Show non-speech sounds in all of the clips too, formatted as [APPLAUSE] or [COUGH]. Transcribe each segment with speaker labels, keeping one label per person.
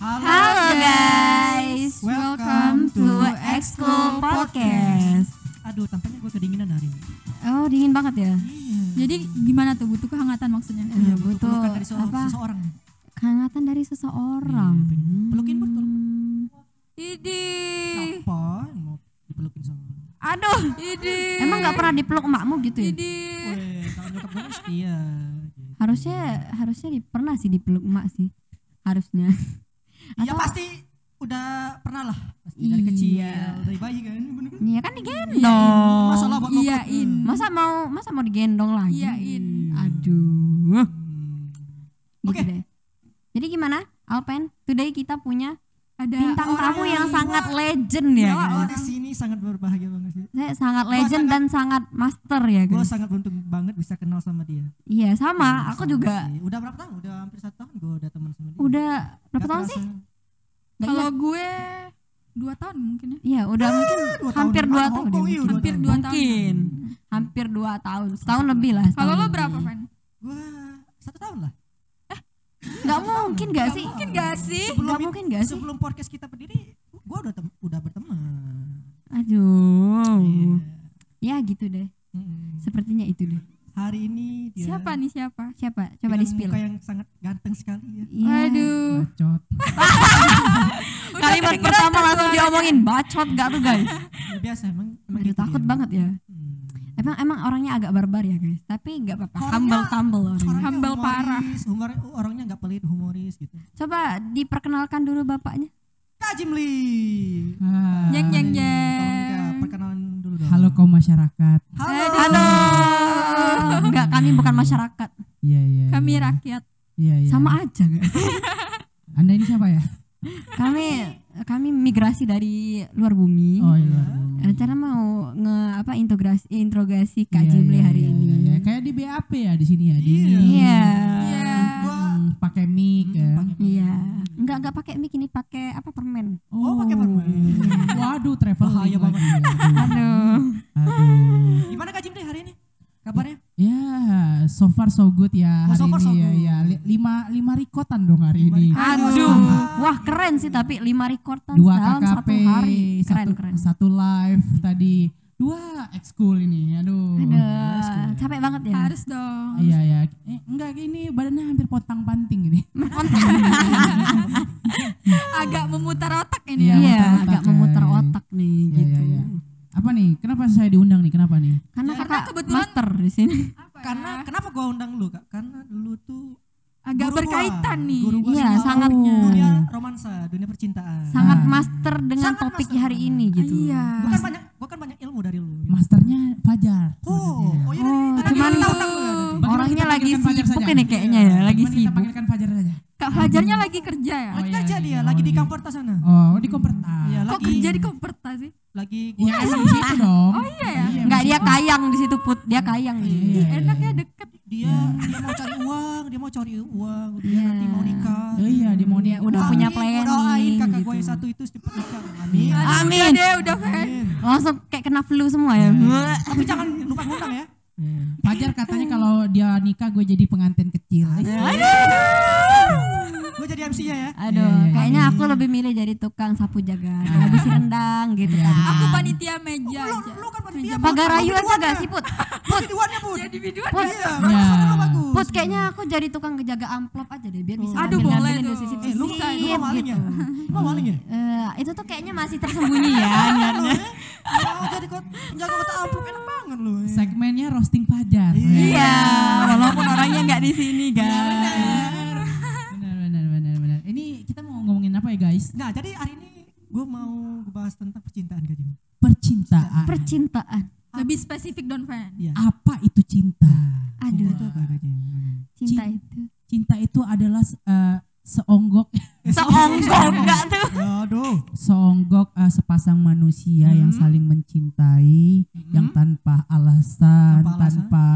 Speaker 1: Halo guys, welcome to Exco Podcast.
Speaker 2: Aduh, tampaknya gue kedinginan hari ini.
Speaker 1: Oh dingin banget ya.
Speaker 3: Jadi gimana tuh butuh kehangatan maksudnya?
Speaker 1: Iya,
Speaker 2: Butuh
Speaker 1: butuh
Speaker 2: pelukan dari seorang,
Speaker 1: apa? Hmm.
Speaker 2: seseorang. Iya.
Speaker 1: Kehangatan dari seseorang.
Speaker 2: Pelukin Bur, tolong.
Speaker 3: Idi.
Speaker 2: Apa yang mau dipelukin sama lu?
Speaker 3: Aduh, Idi.
Speaker 1: Emang nggak pernah dipeluk emakmu gitu ya?
Speaker 3: Idi.
Speaker 2: Weh, kalau nyokap gue mah setia. gitu.
Speaker 1: Harusnya harusnya di, pernah sih dipeluk emak sih. Harusnya.
Speaker 2: Ya pasti udah pernah lah. Pasti dari
Speaker 1: Iya.
Speaker 2: kecil, dari bayi kan. Bener kan?
Speaker 1: Iya kan digendong.
Speaker 2: Masalah buat
Speaker 3: Iya,
Speaker 2: ngokap.
Speaker 3: in.
Speaker 1: Masa mau masa mau digendong lagi?
Speaker 3: Iyain.
Speaker 1: Aduh.
Speaker 2: Hmm.
Speaker 1: Gitu
Speaker 2: Oke.
Speaker 1: deh. Jadi gimana? Alpen, today kita punya
Speaker 3: Ada
Speaker 1: bintang
Speaker 3: Ya, orang
Speaker 1: tamu yang sangat legend
Speaker 2: Gila,
Speaker 1: ya. guys.
Speaker 2: orang di sini sangat berbahagia banget sih.
Speaker 1: Saya sangat
Speaker 2: Gua
Speaker 1: legend
Speaker 2: sangat-
Speaker 1: dan sangat master ya
Speaker 2: Gue
Speaker 1: guys.
Speaker 2: sangat beruntung banget bisa kenal sama dia.
Speaker 1: Iya sama, aku
Speaker 2: Sama
Speaker 1: juga
Speaker 2: sih. Udah berapa tahun? Udah hampir satu tahun gue udah teman sama dia.
Speaker 1: udah berapa
Speaker 2: Gak
Speaker 1: tahun
Speaker 2: terasa.
Speaker 1: sih? Nggak
Speaker 3: Kalau
Speaker 1: ingat.
Speaker 3: gue dua tahun mungkin ya.
Speaker 1: Iya udah mungkin
Speaker 2: dua tahun
Speaker 1: hampir dua
Speaker 2: depan,
Speaker 1: tahun
Speaker 2: Hongkong,
Speaker 1: deh,
Speaker 2: iya, dua
Speaker 1: mungkin. hampir
Speaker 2: tahun.
Speaker 1: dua
Speaker 3: Dua tahun.
Speaker 1: mungkin hampir dua tahun setahun lebih lah
Speaker 3: Kalau
Speaker 1: setahun
Speaker 3: lo
Speaker 1: lebih.
Speaker 3: berapa, Van?
Speaker 2: Gue satu tahun lah.
Speaker 1: nggak mungkin gak sih
Speaker 3: Mungkin gak sih?
Speaker 1: nggak
Speaker 2: it-
Speaker 1: mungkin gak sih
Speaker 2: sebelum podcast kita berdiri gue udah tem- udah berteman
Speaker 1: aduh
Speaker 2: Iya.
Speaker 1: ya gitu deh
Speaker 2: Mm-mm.
Speaker 1: sepertinya itu deh
Speaker 2: hari ini dia
Speaker 3: Siapa nih siapa?
Speaker 1: siapa coba di
Speaker 2: dengan
Speaker 1: spill
Speaker 2: muka yang sangat ganteng sekali ya
Speaker 1: Iya.
Speaker 3: Aduh.
Speaker 2: bacot
Speaker 3: Udah
Speaker 1: kalimat
Speaker 3: kedengeran
Speaker 1: pertama
Speaker 3: tuh
Speaker 1: langsung
Speaker 3: suaranya.
Speaker 1: diomongin bacot gak tuh guys
Speaker 2: Ya, biasa emang emang
Speaker 1: Aduh,
Speaker 2: gitu
Speaker 1: takut
Speaker 2: dia.
Speaker 1: banget ya
Speaker 2: Hmm.
Speaker 1: emang emang orangnya agak barbar ya guys tapi nggak apa-apa
Speaker 2: Orangnya-
Speaker 1: humble tumble orangnya
Speaker 2: Orangnya
Speaker 3: Humble
Speaker 2: humoris,
Speaker 3: parah.
Speaker 2: humor- orangnya nggak pelit humoris gitu
Speaker 1: coba diperkenalkan dulu bapaknya
Speaker 2: Kak Jimli
Speaker 4: Ah,
Speaker 3: Jeng, jeng,
Speaker 4: iya,
Speaker 3: jeng.
Speaker 2: Tolong Kak, perkenalan dulu dong
Speaker 4: Halo kaum masyarakat.
Speaker 2: halo
Speaker 1: Aduh, enggak kami bukan masyarakat.
Speaker 4: Iya iya.
Speaker 3: Kami
Speaker 4: iya.
Speaker 3: rakyat.
Speaker 4: Iya iya.
Speaker 1: Sama aja guys.
Speaker 4: Anda ini siapa ya?
Speaker 1: Kami kami migrasi dari luar bumi.
Speaker 4: Oh iya.
Speaker 1: Rencana mau nge apa integrasi interogasi Kak
Speaker 4: Iya,
Speaker 1: Jimli
Speaker 4: iya,
Speaker 1: hari
Speaker 4: iya,
Speaker 1: ini.
Speaker 4: Iya, iya. Kayak di BAP ya di sini ya. Di
Speaker 2: Iya.
Speaker 1: Iya.
Speaker 3: Iya.
Speaker 2: Gua-
Speaker 4: Hmm, pakai mic
Speaker 2: Hmm,
Speaker 4: ya.
Speaker 2: pakai-
Speaker 1: Iya. Enggak enggak pakai mic ini pakai apa
Speaker 4: [LAUGHS]
Speaker 1: permen.
Speaker 2: oh pakai permen
Speaker 4: Waduh, travel
Speaker 2: Bahaya banget.
Speaker 4: Aduh.
Speaker 1: Aduh.
Speaker 4: Aduh.
Speaker 2: gimana Kak Jimli hari ini kabarnya
Speaker 4: Ya, so far so good ya
Speaker 2: Oh,
Speaker 4: hari
Speaker 2: so far
Speaker 4: ini
Speaker 2: so
Speaker 4: ya,
Speaker 2: good.
Speaker 4: ya. Li- Lima lima rikotan dong hari
Speaker 2: Lima
Speaker 4: ini.
Speaker 2: rikotan.
Speaker 1: Aduh. Wah, keren sih tapi 5 rekordan
Speaker 4: Dua
Speaker 1: dalam
Speaker 4: KKP,
Speaker 1: satu hari. Keren
Speaker 4: satu,
Speaker 1: keren.
Speaker 4: satu live tadi. Dua ekskul ini. Aduh.
Speaker 1: Aduh, capek banget ya.
Speaker 3: Harus dong.
Speaker 4: Iya ya. Eh, enggak ini badannya hampir potang panting ini.
Speaker 3: Agak memutar otak ini
Speaker 4: Iya,
Speaker 3: ya.
Speaker 1: Iya,
Speaker 4: otak-otak,
Speaker 1: agak memutar
Speaker 4: guys.
Speaker 1: otak nih
Speaker 4: Iya,
Speaker 1: gitu.
Speaker 4: iya, iya. Apa nih? Kenapa saya diundang nih? Kenapa nih?
Speaker 1: Karena
Speaker 2: Ya,
Speaker 1: kakak
Speaker 3: kebetulan-
Speaker 1: master di sini.
Speaker 3: Apa ya?
Speaker 2: karena kenapa gua undang lu Kak karena lu tuh
Speaker 3: agak
Speaker 2: guru
Speaker 3: berkaitan
Speaker 2: gua.
Speaker 3: nih.
Speaker 2: Guru gua
Speaker 1: Iya,
Speaker 2: sama
Speaker 1: sangat-
Speaker 2: dunia romansa, dunia percintaan.
Speaker 1: Sangat
Speaker 4: Ah.
Speaker 1: master dengan
Speaker 2: Sangat
Speaker 1: topik
Speaker 2: master.
Speaker 1: hari ini gitu.
Speaker 3: Iya.
Speaker 2: Gua kan banyak, gua kan banyak ilmu dari lu.
Speaker 4: Masternya Fajar.
Speaker 2: Oh, oh iya,
Speaker 1: Oh, cuman
Speaker 2: kita undang lu ya.
Speaker 4: Bagaimana
Speaker 1: orangnya
Speaker 4: kita
Speaker 1: lagi
Speaker 4: panggilkan Fajar
Speaker 1: sibuk
Speaker 4: saja?
Speaker 1: ini kayaknya ya, lagi
Speaker 4: Bagaimana kita
Speaker 1: sibuk.
Speaker 4: panggilkan Fajar saja.
Speaker 3: Kak Fajarnya lagi kerja ya?
Speaker 2: Lagi
Speaker 4: iya,
Speaker 2: kerja
Speaker 4: iya,
Speaker 2: dia,
Speaker 4: iya,
Speaker 2: lagi
Speaker 4: oh,
Speaker 2: di
Speaker 4: iya.
Speaker 2: komporta sana.
Speaker 4: Oh, di Komperta.
Speaker 2: Iya,
Speaker 3: Kok
Speaker 2: lagi
Speaker 3: kerja di Komperta sih?
Speaker 2: lagi gua
Speaker 4: Iya, di situ dong.
Speaker 3: Oh iya ya?
Speaker 1: Enggak dia kayang di situ put, dia kayang di situ.
Speaker 4: Iya.
Speaker 3: Ih, enak ya deket.
Speaker 2: dia dia mau cari uang, dia mau cari uang, dia
Speaker 1: Iya.
Speaker 2: nanti mau nikah.
Speaker 4: Oh iya, di Monia.
Speaker 1: udah
Speaker 2: Amin,
Speaker 1: punya
Speaker 2: gua
Speaker 1: planning
Speaker 2: Doain kakak
Speaker 1: gitu.
Speaker 2: gua yang satu itu cepet nikah. Amin.
Speaker 1: Amin.
Speaker 3: Udah deh, udah Van.
Speaker 2: Amin.
Speaker 1: Langsung kayak kena flu semua
Speaker 4: Iya,
Speaker 1: ya.
Speaker 2: Tapi jangan lupa ngundang ya.
Speaker 4: Fajar katanya kalau dia nikah gue jadi pengantin kecil.
Speaker 2: Gua jadi MC-nya ya.
Speaker 1: Aduh,
Speaker 4: Iya, iya,
Speaker 1: kayaknya aku lebih milih jadi tukang sapu jaga, habis rendang gitu
Speaker 4: Iya,
Speaker 1: kan.
Speaker 3: Aku panitia meja
Speaker 2: Lu,
Speaker 3: aja.
Speaker 2: lu kan panitia.
Speaker 1: Pagar
Speaker 2: Bud.
Speaker 1: rayu
Speaker 2: Lu
Speaker 1: aja
Speaker 2: biduannya.
Speaker 1: gak sih put?
Speaker 2: Lu biduannya, Bud.
Speaker 3: Jadi biduan
Speaker 1: Put,
Speaker 2: Iya, suara lu bagus.
Speaker 1: put kayaknya aku jadi tukang jaga amplop aja deh biar bisa
Speaker 3: Aduh, boleh Iya.
Speaker 1: ngambil-ngambilin di
Speaker 3: tuh.
Speaker 1: sisi
Speaker 2: Eh, lu,
Speaker 1: sisi
Speaker 2: lu mau maling ya?
Speaker 1: gitu.
Speaker 2: Lu mau maling [LAUGHS] ya?
Speaker 1: Eh, itu tuh kayaknya masih tersembunyi ya
Speaker 4: [LAUGHS]
Speaker 2: Iya.
Speaker 1: niatnya.
Speaker 2: Mau jadi kot, jago kota amplop enak banget lu.
Speaker 4: Segmennya roasting Fajar.
Speaker 1: Iya, walaupun orangnya nggak di sini
Speaker 4: iya,
Speaker 1: guys.
Speaker 4: Benar, benar, benar, benar. Ini kita mau ngomongin apa ya guys?
Speaker 2: Nah, jadi hari ini gue mau bahas tentang percintaan Kak Jimmy.
Speaker 4: Percintaan.
Speaker 1: Percintaan.
Speaker 3: Lebih spesifik Don Van.
Speaker 2: Iya.
Speaker 4: apa itu cinta?
Speaker 1: Aduh, Eh,
Speaker 2: Itu apa Kak Jimmy?
Speaker 1: cinta itu.
Speaker 4: Cinta itu adalah eh, seonggok [LAUGHS]
Speaker 1: [LAUGHS] Seonggol enggak tuh.
Speaker 2: Aduh.
Speaker 4: seonggok eh, sepasang manusia yang
Speaker 2: Hmm.
Speaker 4: saling mencintai yang tanpa alasan,
Speaker 2: Tanpa alasan.
Speaker 4: tanpa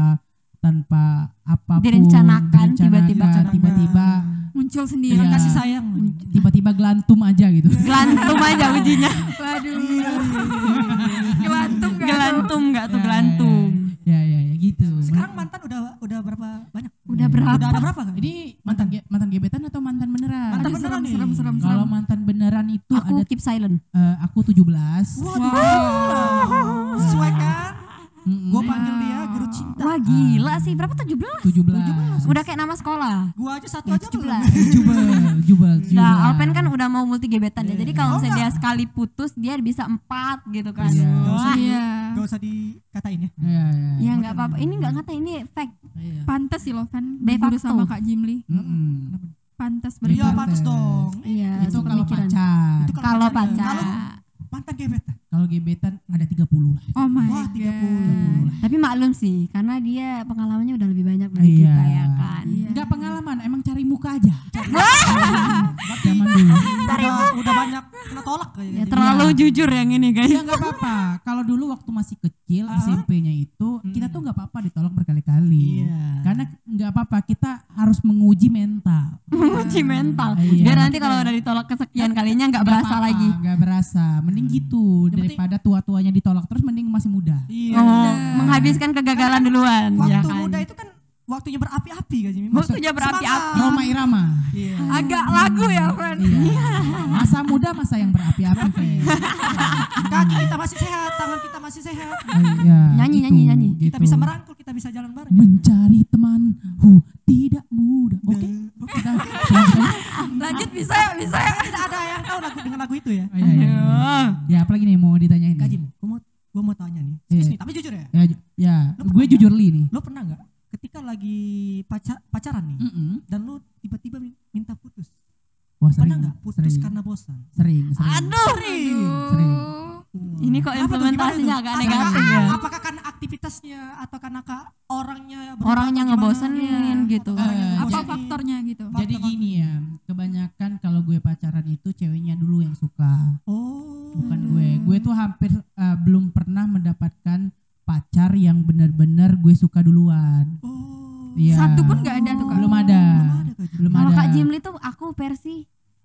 Speaker 4: tanpa apapun
Speaker 1: Direncanakan, tiba-tiba.
Speaker 4: direncanakan, tiba-tiba
Speaker 2: Nah.
Speaker 3: Muncul sendiri.
Speaker 2: Bilang
Speaker 4: Iya.
Speaker 2: kasih sayang. lu.
Speaker 4: tiba-tiba gelantum aja
Speaker 2: [LAUGHS]
Speaker 4: gitu.
Speaker 1: Gelantum aja ujinya.
Speaker 3: Waduh. kan? Gelantung gak tuh?
Speaker 1: Gelantum enggak tuh gelantum.
Speaker 4: [LAUGHS] Ya ya ya gitu.
Speaker 2: Sekarang mantan udah udah berapa banyak?
Speaker 1: Udah berapa?
Speaker 2: Udah ada berapa Kak?
Speaker 4: Ini mantan ge- mantan gebetan atau mantan beneran?
Speaker 2: Mantan
Speaker 3: Aduh,
Speaker 2: beneran
Speaker 3: serem,
Speaker 2: nih.
Speaker 3: serem, serem, serem.
Speaker 4: Kalau eh,
Speaker 2: kan?
Speaker 1: Iya.
Speaker 2: guru cinta.
Speaker 1: Wah gila sih, berapa 17?
Speaker 4: 17.
Speaker 1: Udah kayak nama sekolah.
Speaker 2: Gua aja satu
Speaker 1: Iya,
Speaker 2: aja belum.
Speaker 1: 17.
Speaker 4: Jubel, jubel, jubel.
Speaker 1: Nah, Alpen kan udah mau multi gebetan ya. Jadi
Speaker 2: Oh,
Speaker 1: kalau misalnya dia sekali putus, dia bisa empat gitu kan.
Speaker 4: Iya.
Speaker 1: Wah,
Speaker 3: Iya.
Speaker 2: Gak usah dikatain ya.
Speaker 4: Iya,
Speaker 1: ya
Speaker 4: iya.
Speaker 1: nggak apa-apa. Ini nggak ngata ini fact.
Speaker 4: Iya.
Speaker 3: Pantes sih lo Fan
Speaker 1: De
Speaker 3: berguru
Speaker 1: facto.
Speaker 3: sama Kak Jimli.
Speaker 4: Mm-mm.
Speaker 3: Pantes
Speaker 4: Iya,
Speaker 2: Iya
Speaker 3: berguru.
Speaker 4: Pak.
Speaker 2: pantas
Speaker 4: pantes.
Speaker 2: dong.
Speaker 1: Iya,
Speaker 4: Itu kalau
Speaker 1: sepemikiran.
Speaker 4: pacar.
Speaker 2: Itu
Speaker 1: Kalau
Speaker 2: pacarnya.
Speaker 1: pacar.
Speaker 2: Kalau mantan gebetan.
Speaker 4: Kalau gebetan ada 30 lah.
Speaker 3: Oh my
Speaker 2: Wah, 30.
Speaker 3: god.
Speaker 1: Tapi maklum sih, karena dia pengalamannya udah lebih banyak dari
Speaker 4: Iya.
Speaker 1: kita ya kan.
Speaker 4: Enggak pengalaman, emang cari muka aja. Zaman dulu.
Speaker 2: Udah, udah banyak kena tolak
Speaker 1: Ya
Speaker 2: kayaknya.
Speaker 1: terlalu jujur yang ini guys. [LAUGHS]
Speaker 4: Ya nggak apa-apa. Kalau dulu waktu masih kecil SMP-nya itu kita tuh nggak apa-apa ditolak berkali-kali.
Speaker 2: Iya.
Speaker 4: Karena nggak apa-apa kita harus menguji mental.
Speaker 1: Uji mental.
Speaker 4: Iya.
Speaker 1: Biar nanti kalau udah ditolak kesekian kalinya nggak
Speaker 4: Nggak
Speaker 1: berasa
Speaker 4: apa-apa,
Speaker 1: lagi.
Speaker 4: Ah, Nggak berasa. Mending gitu daripada tua-tuanya ditolak terus mending masih muda.
Speaker 2: Iya.
Speaker 1: Oh, menghabiskan kegagalan duluan ya
Speaker 2: Waktu
Speaker 1: kan.
Speaker 2: muda itu kan waktunya berapi-api kan Jimmy.
Speaker 1: Waktunya berapi-api.
Speaker 4: Roma Irama.
Speaker 2: Iya.
Speaker 1: Agak lagu ya, Fran.
Speaker 4: Iya. Masa muda masa yang berapi-api. Fer.
Speaker 2: Kaki kita masih sehat, tangan kita masih sehat.
Speaker 4: Oh, iya,
Speaker 1: Nyanyi,
Speaker 4: gitu,
Speaker 1: nyanyi, nyanyi.
Speaker 2: Kita
Speaker 4: gitu.
Speaker 2: bisa merangkul, kita bisa jalan bareng.
Speaker 4: Mencari teman, hu tidak mudah. Oke.
Speaker 2: Nah.
Speaker 4: Udah.
Speaker 1: Lanjut bisa ya, bisa ya.
Speaker 2: Eh, Tidak ada yang tahu lagu dengan lagu itu ya.
Speaker 4: Iya, iya, iya. Ya, apalagi nih mau ditanyain? nih?
Speaker 2: Kak Jim, gua mau gua mau tanya nih. Serius
Speaker 4: Iya.
Speaker 2: nih, tapi jujur ya.
Speaker 4: Ya, ju- ya.
Speaker 2: Lu
Speaker 4: gue
Speaker 2: pernah
Speaker 4: jujur li nih.
Speaker 2: Lo pernah nggak ketika lagi pacar pacaran nih
Speaker 4: Mm-mm.
Speaker 2: dan lo tiba-tiba minta putus? Pernah
Speaker 4: Wah, Hmm. sering,
Speaker 2: nggak putus
Speaker 4: sering,
Speaker 2: karena bosan?
Speaker 4: sering, sering.
Speaker 1: Aduh.
Speaker 4: Sering.
Speaker 1: Ini kok
Speaker 2: Apa tuh,
Speaker 1: implementasinya
Speaker 2: gimana
Speaker 1: agak
Speaker 2: tuh?
Speaker 1: negatif
Speaker 2: Apakah-
Speaker 1: ya.
Speaker 2: Apakah karena aktivitasnya atau karena ka- orangnya berubah
Speaker 1: Orangnya
Speaker 2: atau
Speaker 1: ngebosenin
Speaker 2: gimana?
Speaker 1: gitu.
Speaker 4: Eh,
Speaker 2: Orangnya
Speaker 3: Apa
Speaker 2: ngebosenin.
Speaker 3: faktornya gitu?
Speaker 4: Jadi gini ya, kebanyakan kalau gue pacaran itu ceweknya dulu yang suka,
Speaker 2: Oh.
Speaker 4: bukan gue. Gue tuh hampir eh, belum pernah mendapatkan pacar yang benar-benar gue suka duluan.
Speaker 2: Oh.
Speaker 4: Iya.
Speaker 3: Satu pun nggak ada tuh Kak.
Speaker 4: Belum ada.
Speaker 2: ada, Kak Jim.
Speaker 4: Belum
Speaker 1: Kalau
Speaker 4: ada.
Speaker 1: Kak Jimli tuh aku versi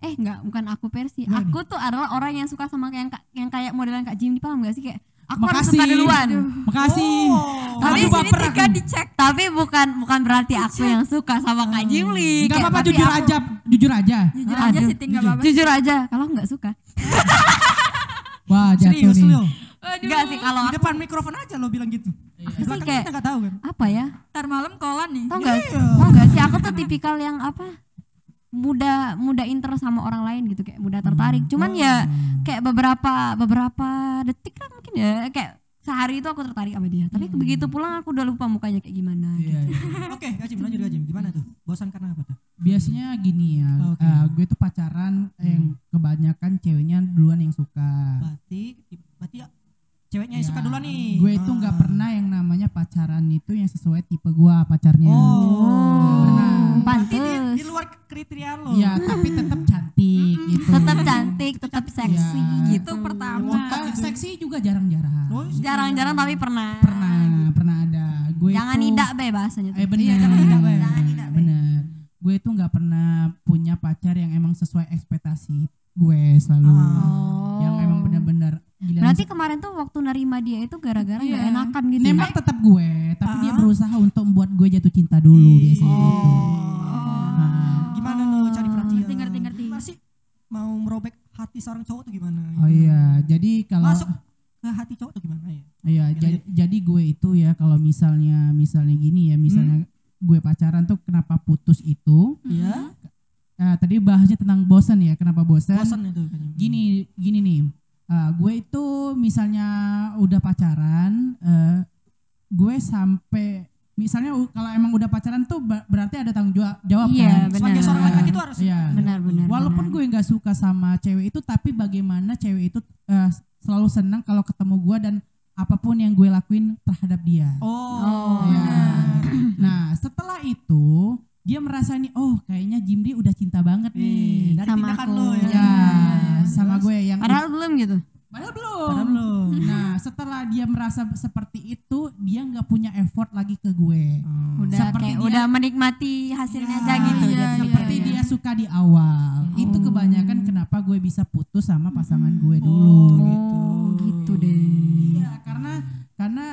Speaker 1: eh enggak bukan aku versi.
Speaker 2: Gimana
Speaker 1: Aku tuh adalah orang yang suka sama yang ka- yang kayak modelan Kak Jimli paham gak sih kayak aku harus
Speaker 4: Makasih.
Speaker 1: suka duluan.
Speaker 4: Makasih.
Speaker 2: Oh.
Speaker 1: Tapi
Speaker 4: Aduh,
Speaker 1: sini
Speaker 4: baper
Speaker 1: tiga
Speaker 4: aku.
Speaker 1: dicek. Tapi bukan bukan berarti aku yang suka sama Kak Jimli.
Speaker 4: Enggak
Speaker 1: Kayak,
Speaker 4: apa-apa
Speaker 1: tapi
Speaker 4: jujur
Speaker 1: aku-
Speaker 4: aja, jujur aja.
Speaker 3: Jujur aja
Speaker 1: Aduh,
Speaker 3: sih tinggal apa
Speaker 1: Jujur aja kalau nggak suka.
Speaker 4: Wah,
Speaker 1: Iya,
Speaker 4: jatuh
Speaker 2: Serius
Speaker 4: nih.
Speaker 2: lo.
Speaker 3: Aduh.
Speaker 1: Enggak sih kalau
Speaker 2: Di
Speaker 1: aku-
Speaker 2: depan mikrofon aja lo bilang gitu.
Speaker 4: Iya.
Speaker 2: Di
Speaker 1: Sih,
Speaker 2: belakang
Speaker 1: kayak-
Speaker 2: kita nggak tahu kan.
Speaker 1: apa ya?
Speaker 3: Ntar malam kolan nih.
Speaker 1: Tau gak?
Speaker 4: Iya.
Speaker 1: Tau gak sih aku tuh tipikal yang apa? mudah mudah interest sama orang lain gitu kayak mudah
Speaker 4: Hmm.
Speaker 1: tertarik. Cuman ya kayak beberapa beberapa detik lah mungkin ya kayak sehari itu aku tertarik sama dia. Tapi begitu pulang aku udah lupa mukanya kayak gimana.
Speaker 4: Hmm.
Speaker 1: gitu.
Speaker 4: Iya, iya.
Speaker 2: Oke, Kak Jim lanjut Kak Jim. Gimana tuh? Bosan karena apa tuh?
Speaker 4: Biasanya gini ya,
Speaker 2: Oke.
Speaker 4: eh, gue tuh pacaran yang kebanyakan ceweknya duluan yang suka.
Speaker 2: Berarti berarti ya, ceweknya yang
Speaker 4: Ya,
Speaker 2: suka duluan nih. Ah.
Speaker 4: Gue itu nggak pernah yang namanya pacaran itu yang sesuai tipe gue pacarnya.
Speaker 1: Oh.
Speaker 4: Nggak pernah.
Speaker 2: Oh. Berarti di,
Speaker 1: Hmm, Pantes.
Speaker 2: di
Speaker 4: gitu. [LAUGHS]
Speaker 2: luar kriteria lo.
Speaker 4: Iya, tapi tetap cantik gitu.
Speaker 1: Tetap cantik, tetap seksi
Speaker 4: Iya.
Speaker 1: gitu.
Speaker 3: Itu pertama.
Speaker 4: Nah, seksi juga jarang-jarang.
Speaker 2: Oh,
Speaker 1: iya. Jarang-jarang tapi pernah.
Speaker 4: Pernah, pernah ada. Gue
Speaker 1: Jangan
Speaker 4: itu-
Speaker 1: tidak be bahasanya tuh.
Speaker 4: Eh benar.
Speaker 2: jangan tidak, Bay.
Speaker 1: Jangan Iya, tidak, Bay.
Speaker 4: Benar. Gue tuh nggak pernah punya pacar yang emang sesuai ekspektasi gue selalu.
Speaker 1: Oh.
Speaker 4: Yang emang benar-benar gila.
Speaker 1: Berarti kemarin tuh waktu nerima dia itu gara-gara nggak
Speaker 3: Iya.
Speaker 1: enakan gitu. ya?
Speaker 4: nembak tetap gue, tapi dia berusaha untuk membuat gue jatuh cinta dulu biasanya gitu.
Speaker 2: Oh.
Speaker 4: Nah,
Speaker 2: Iya. Gimana lo cari perhatian?
Speaker 3: Ngerti, ngerti, ngerti.
Speaker 2: Gimana sih mau merobek hati seorang cowok tuh gimana?
Speaker 4: Oh iya, jadi kalau
Speaker 2: Masuk ke hati cowok tuh gimana ya?
Speaker 4: Iya, jadi, jadi gue itu ya kalau misalnya misalnya gini ya, misalnya gue pacaran tuh kenapa putus itu?
Speaker 2: Iya.
Speaker 4: Eh, tadi bahasnya tentang bosan ya, kenapa bosan?
Speaker 2: Bosan itu kan kayaknya.
Speaker 4: Gini gini nih, eh, gue itu misalnya udah pacaran, eh, gue sampai misalnya u- kalau emang udah pacaran tuh ber- berarti ada tanggung jawab jawab
Speaker 1: Iya,
Speaker 4: kan?
Speaker 1: benar.
Speaker 2: Sebagai seorang laki-laki itu harus
Speaker 4: Iya.
Speaker 1: Benar-benar.
Speaker 4: Walaupun gue nggak suka sama cewek itu, tapi bagaimana cewek itu eh, selalu senang kalau ketemu gue dan apapun yang gue lakuin terhadap dia.
Speaker 2: Oh.
Speaker 4: Ya. Nah setelah itu dia merasa nih, oh kayaknya Jimli udah cinta banget
Speaker 2: Ih,
Speaker 4: nih.
Speaker 2: Dari
Speaker 1: Sama
Speaker 2: tindakan
Speaker 1: aku.
Speaker 2: lo ya.
Speaker 4: Ya sama gue yang
Speaker 1: Padahal belum gitu.
Speaker 4: padahal belum.
Speaker 2: Padahal belum.
Speaker 4: Nah
Speaker 1: [LAUGHS]
Speaker 4: setelah dia merasa seperti itu, dia nggak punya effort lagi ke gue.
Speaker 1: Udah
Speaker 4: Seperti
Speaker 1: kayak
Speaker 4: dia-
Speaker 1: udah menikmati hasilnya aja
Speaker 4: Ya,
Speaker 1: gitu.
Speaker 4: iya,
Speaker 1: jadinya.
Speaker 4: seperti dia suka di awal.
Speaker 1: Oh.
Speaker 4: Itu kebanyakan kenapa gue bisa putus sama pasangan gue dulu gitu.
Speaker 1: Hmm. Oh, gitu deh.
Speaker 4: Iya, karena karena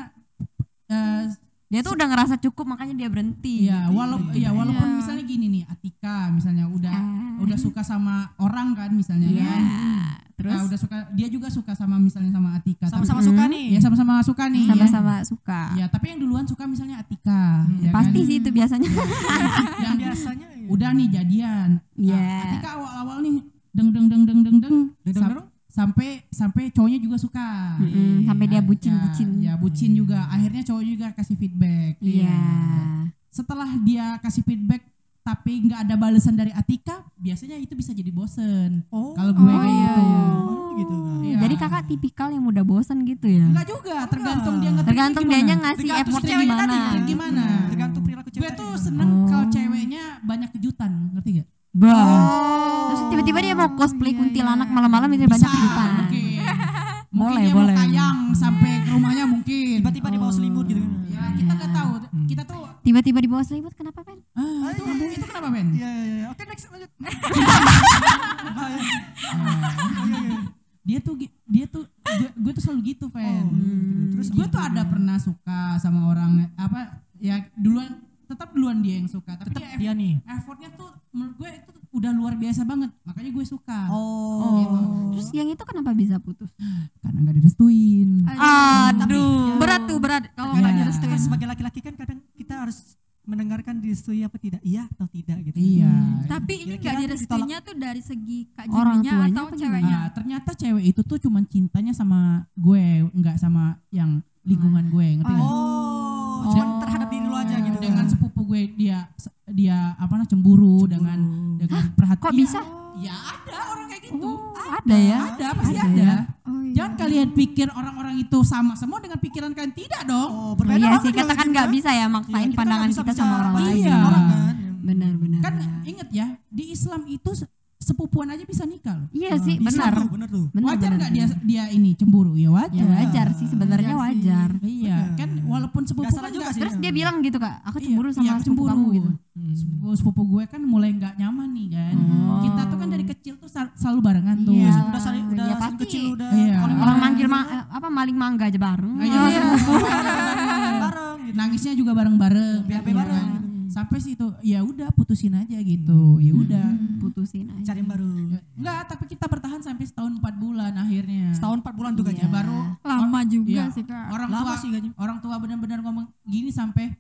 Speaker 4: eh,
Speaker 1: Dia tuh udah ngerasa cukup makanya dia berhenti.
Speaker 4: Iya, walaupun
Speaker 1: gitu
Speaker 4: ya walaupun
Speaker 1: Iya.
Speaker 4: misalnya
Speaker 1: Ah.
Speaker 4: gini nih, Atika misalnya udah udah suka sama orang kan misalnya kan.
Speaker 1: Iya. Terus
Speaker 4: Ah, udah suka dia juga suka sama misalnya sama Atika tapi-
Speaker 2: Sama-sama suka nih.
Speaker 4: ya sama-sama suka nih ya.
Speaker 1: sama-sama suka.
Speaker 4: ya tapi yang duluan suka misalnya Atika ya
Speaker 1: Pasti
Speaker 4: kan?
Speaker 1: sih itu biasanya.
Speaker 4: [LAUGHS] yang
Speaker 2: Biasanya ya.
Speaker 4: udah nih jadian
Speaker 1: Iya.
Speaker 4: Ah, Atika awal-awal nih deng deng deng deng deng deng
Speaker 2: Deng, deng, Iya.
Speaker 4: sam-
Speaker 2: deng.
Speaker 4: sampai sampai cowoknya juga suka
Speaker 1: Mm-mm, sampai dia
Speaker 4: Ya,
Speaker 1: bucin-bucin.
Speaker 4: ya, bucin juga akhirnya cowok juga kasih feedback
Speaker 1: Iya.
Speaker 4: setelah dia kasih feedback tapi nggak ada balasan dari Atika biasanya itu bisa jadi bosen
Speaker 2: Oh.
Speaker 4: kalau gue
Speaker 1: Oh,
Speaker 4: kayak
Speaker 1: iya,
Speaker 4: gitu
Speaker 1: iya.
Speaker 2: Oh, gitu kan.
Speaker 4: Iya.
Speaker 1: Jadi kakak tipikal yang mudah bosan gitu ya.
Speaker 4: Enggak juga, tergantung dia ngetiknya
Speaker 1: Tergantung
Speaker 4: gimana.
Speaker 1: dianya ngasih
Speaker 4: Tergantung
Speaker 1: effortnya
Speaker 4: ceweknya
Speaker 1: gimana.
Speaker 4: tadi, dia gimana.
Speaker 2: kan? Tergantung perilaku cewek.
Speaker 4: Gue
Speaker 2: tadi. kan?
Speaker 4: tuh seneng
Speaker 1: Oh.
Speaker 4: kalau ceweknya banyak kejutan, ngerti gak? Oh.
Speaker 1: Bah. Terus tiba-tiba dia
Speaker 4: Iya,
Speaker 1: mau cosplay kuntilanak malam-malam itu banyak kejutan.
Speaker 4: Mungkin. mungkin
Speaker 1: [LAUGHS] Boleh,
Speaker 4: dia
Speaker 1: boleh.
Speaker 4: mau tayang sampai ke rumahnya mungkin.
Speaker 2: tiba-tiba di bawah selimut gitu kan.
Speaker 4: Ya, kita nggak tahu. Kita tuh
Speaker 1: Tiba-tiba di bawah selimut kenapa Ben?
Speaker 4: ah, itu, itu kenapa Ben?
Speaker 2: Iya, iya, iya. Oke, next lanjut.
Speaker 4: [LAUGHS] Iya, Dia tuh gi- dia tuh gue, gue tuh selalu gitu, Ben.
Speaker 2: Terus
Speaker 4: Terus gitu, gue tuh ada pernah suka sama orang apa ya duluan tetap duluan dia yang suka, tapi ya
Speaker 2: dia Iya, nih.
Speaker 4: effortnya tuh menurut gue itu udah luar biasa banget makanya gue suka
Speaker 2: Oh.
Speaker 1: Terus yang itu kenapa bisa putus?
Speaker 4: karena nggak direstuin
Speaker 1: Ah, Aduh, berat tuh berat. Kalau
Speaker 4: Iya.
Speaker 1: nggak
Speaker 2: Kadang
Speaker 1: direstui.
Speaker 2: kan sebagai laki-laki kan kadang kita harus mendengarkan distui apa tidak iya atau tidak gitu.
Speaker 4: iya
Speaker 3: Tapi ini
Speaker 2: Kira-kira
Speaker 3: enggak
Speaker 2: ditolak.
Speaker 3: direstuinya tuh dari segi Kak
Speaker 1: Orang
Speaker 3: Jimmy-nya
Speaker 1: tuanya
Speaker 3: atau
Speaker 1: apa gimana?
Speaker 3: ceweknya.
Speaker 4: Ah, ternyata cewek itu tuh cuman cintanya sama gue nggak sama yang lingkungan gue ngerti nggak?
Speaker 2: ya? Oh, cuman terhadap diri lu aja gitu.
Speaker 4: Oh. dengan
Speaker 1: Nah.
Speaker 4: sepupu gue dia dia apa nah cemburu, dengan dengan perhatian
Speaker 1: Kok bisa?
Speaker 4: ya ada orang kayak gitu
Speaker 1: Ada ya.
Speaker 4: ada pasti ada,
Speaker 3: Oh iya.
Speaker 4: jangan kalian pikir orang-orang itu sama semua dengan pikiran kalian tidak dong
Speaker 2: Oh,
Speaker 1: Oh,
Speaker 2: berbeda
Speaker 1: iya
Speaker 2: orang
Speaker 1: sih,
Speaker 2: juga
Speaker 1: katakan
Speaker 2: gitu
Speaker 1: nggak
Speaker 2: kan.
Speaker 1: bisa ya
Speaker 2: Iya,
Speaker 1: maksain
Speaker 2: kita
Speaker 1: pandangan
Speaker 2: nggak
Speaker 1: kita
Speaker 2: bisa
Speaker 1: sama orang lain.
Speaker 2: bandingin
Speaker 4: Iya.
Speaker 2: orang kan.
Speaker 1: Benar-benar.
Speaker 4: kan inget ya di Islam itu se- sepupuan aja bisa nikah loh
Speaker 1: Iya sih,
Speaker 2: Bisa
Speaker 1: benar.
Speaker 2: tuh, Benar tuh.
Speaker 1: Benar,
Speaker 4: wajar
Speaker 1: benar,
Speaker 4: nggak dia
Speaker 1: benar.
Speaker 4: dia ini cemburu ya
Speaker 1: Ya
Speaker 4: wajar
Speaker 1: wajar sih sebenarnya wajar.
Speaker 4: iya kan walaupun sepupu
Speaker 2: Nggak salah
Speaker 4: kan
Speaker 2: juga
Speaker 4: nggak-
Speaker 2: sih.
Speaker 1: Terus dia bilang gitu kak, aku
Speaker 4: Iya,
Speaker 1: cemburu
Speaker 4: iya, Hmm.
Speaker 1: sama sepupu kamu gitu.
Speaker 4: sepupu sepupu gue kan mulai nggak nyaman nih kan kita tuh kan dari kecil tuh sel- selalu barengan tuh
Speaker 1: Oh. Iya.
Speaker 2: Udah saling udah
Speaker 1: Iya,
Speaker 2: saling
Speaker 1: pasti.
Speaker 2: kecil udah
Speaker 4: Iya.
Speaker 2: kalau
Speaker 1: Orang manggil ma- eh, apa maling mangga aja bareng.
Speaker 4: Iya,
Speaker 1: Iya.
Speaker 2: bareng gitu.
Speaker 4: nangisnya juga bareng-bareng
Speaker 1: Iya,
Speaker 2: Biar
Speaker 4: gitu
Speaker 2: bareng.
Speaker 4: sampai sih itu ya udah putusin aja gitu ya
Speaker 1: Hmm.
Speaker 4: udah
Speaker 1: Putusin aja.
Speaker 2: Cari yang baru.
Speaker 4: nggak tapi kita bertahan sampai setahun empat bulan akhirnya
Speaker 2: Setahun 4 bulan tuh
Speaker 4: ya
Speaker 2: gajinya.
Speaker 4: baru
Speaker 3: Lama juga
Speaker 4: Iya.
Speaker 3: sih Kak.
Speaker 4: orang
Speaker 2: Lama
Speaker 4: tua
Speaker 2: sih gajinya.
Speaker 4: orang tua benar-benar ngomong gini sampai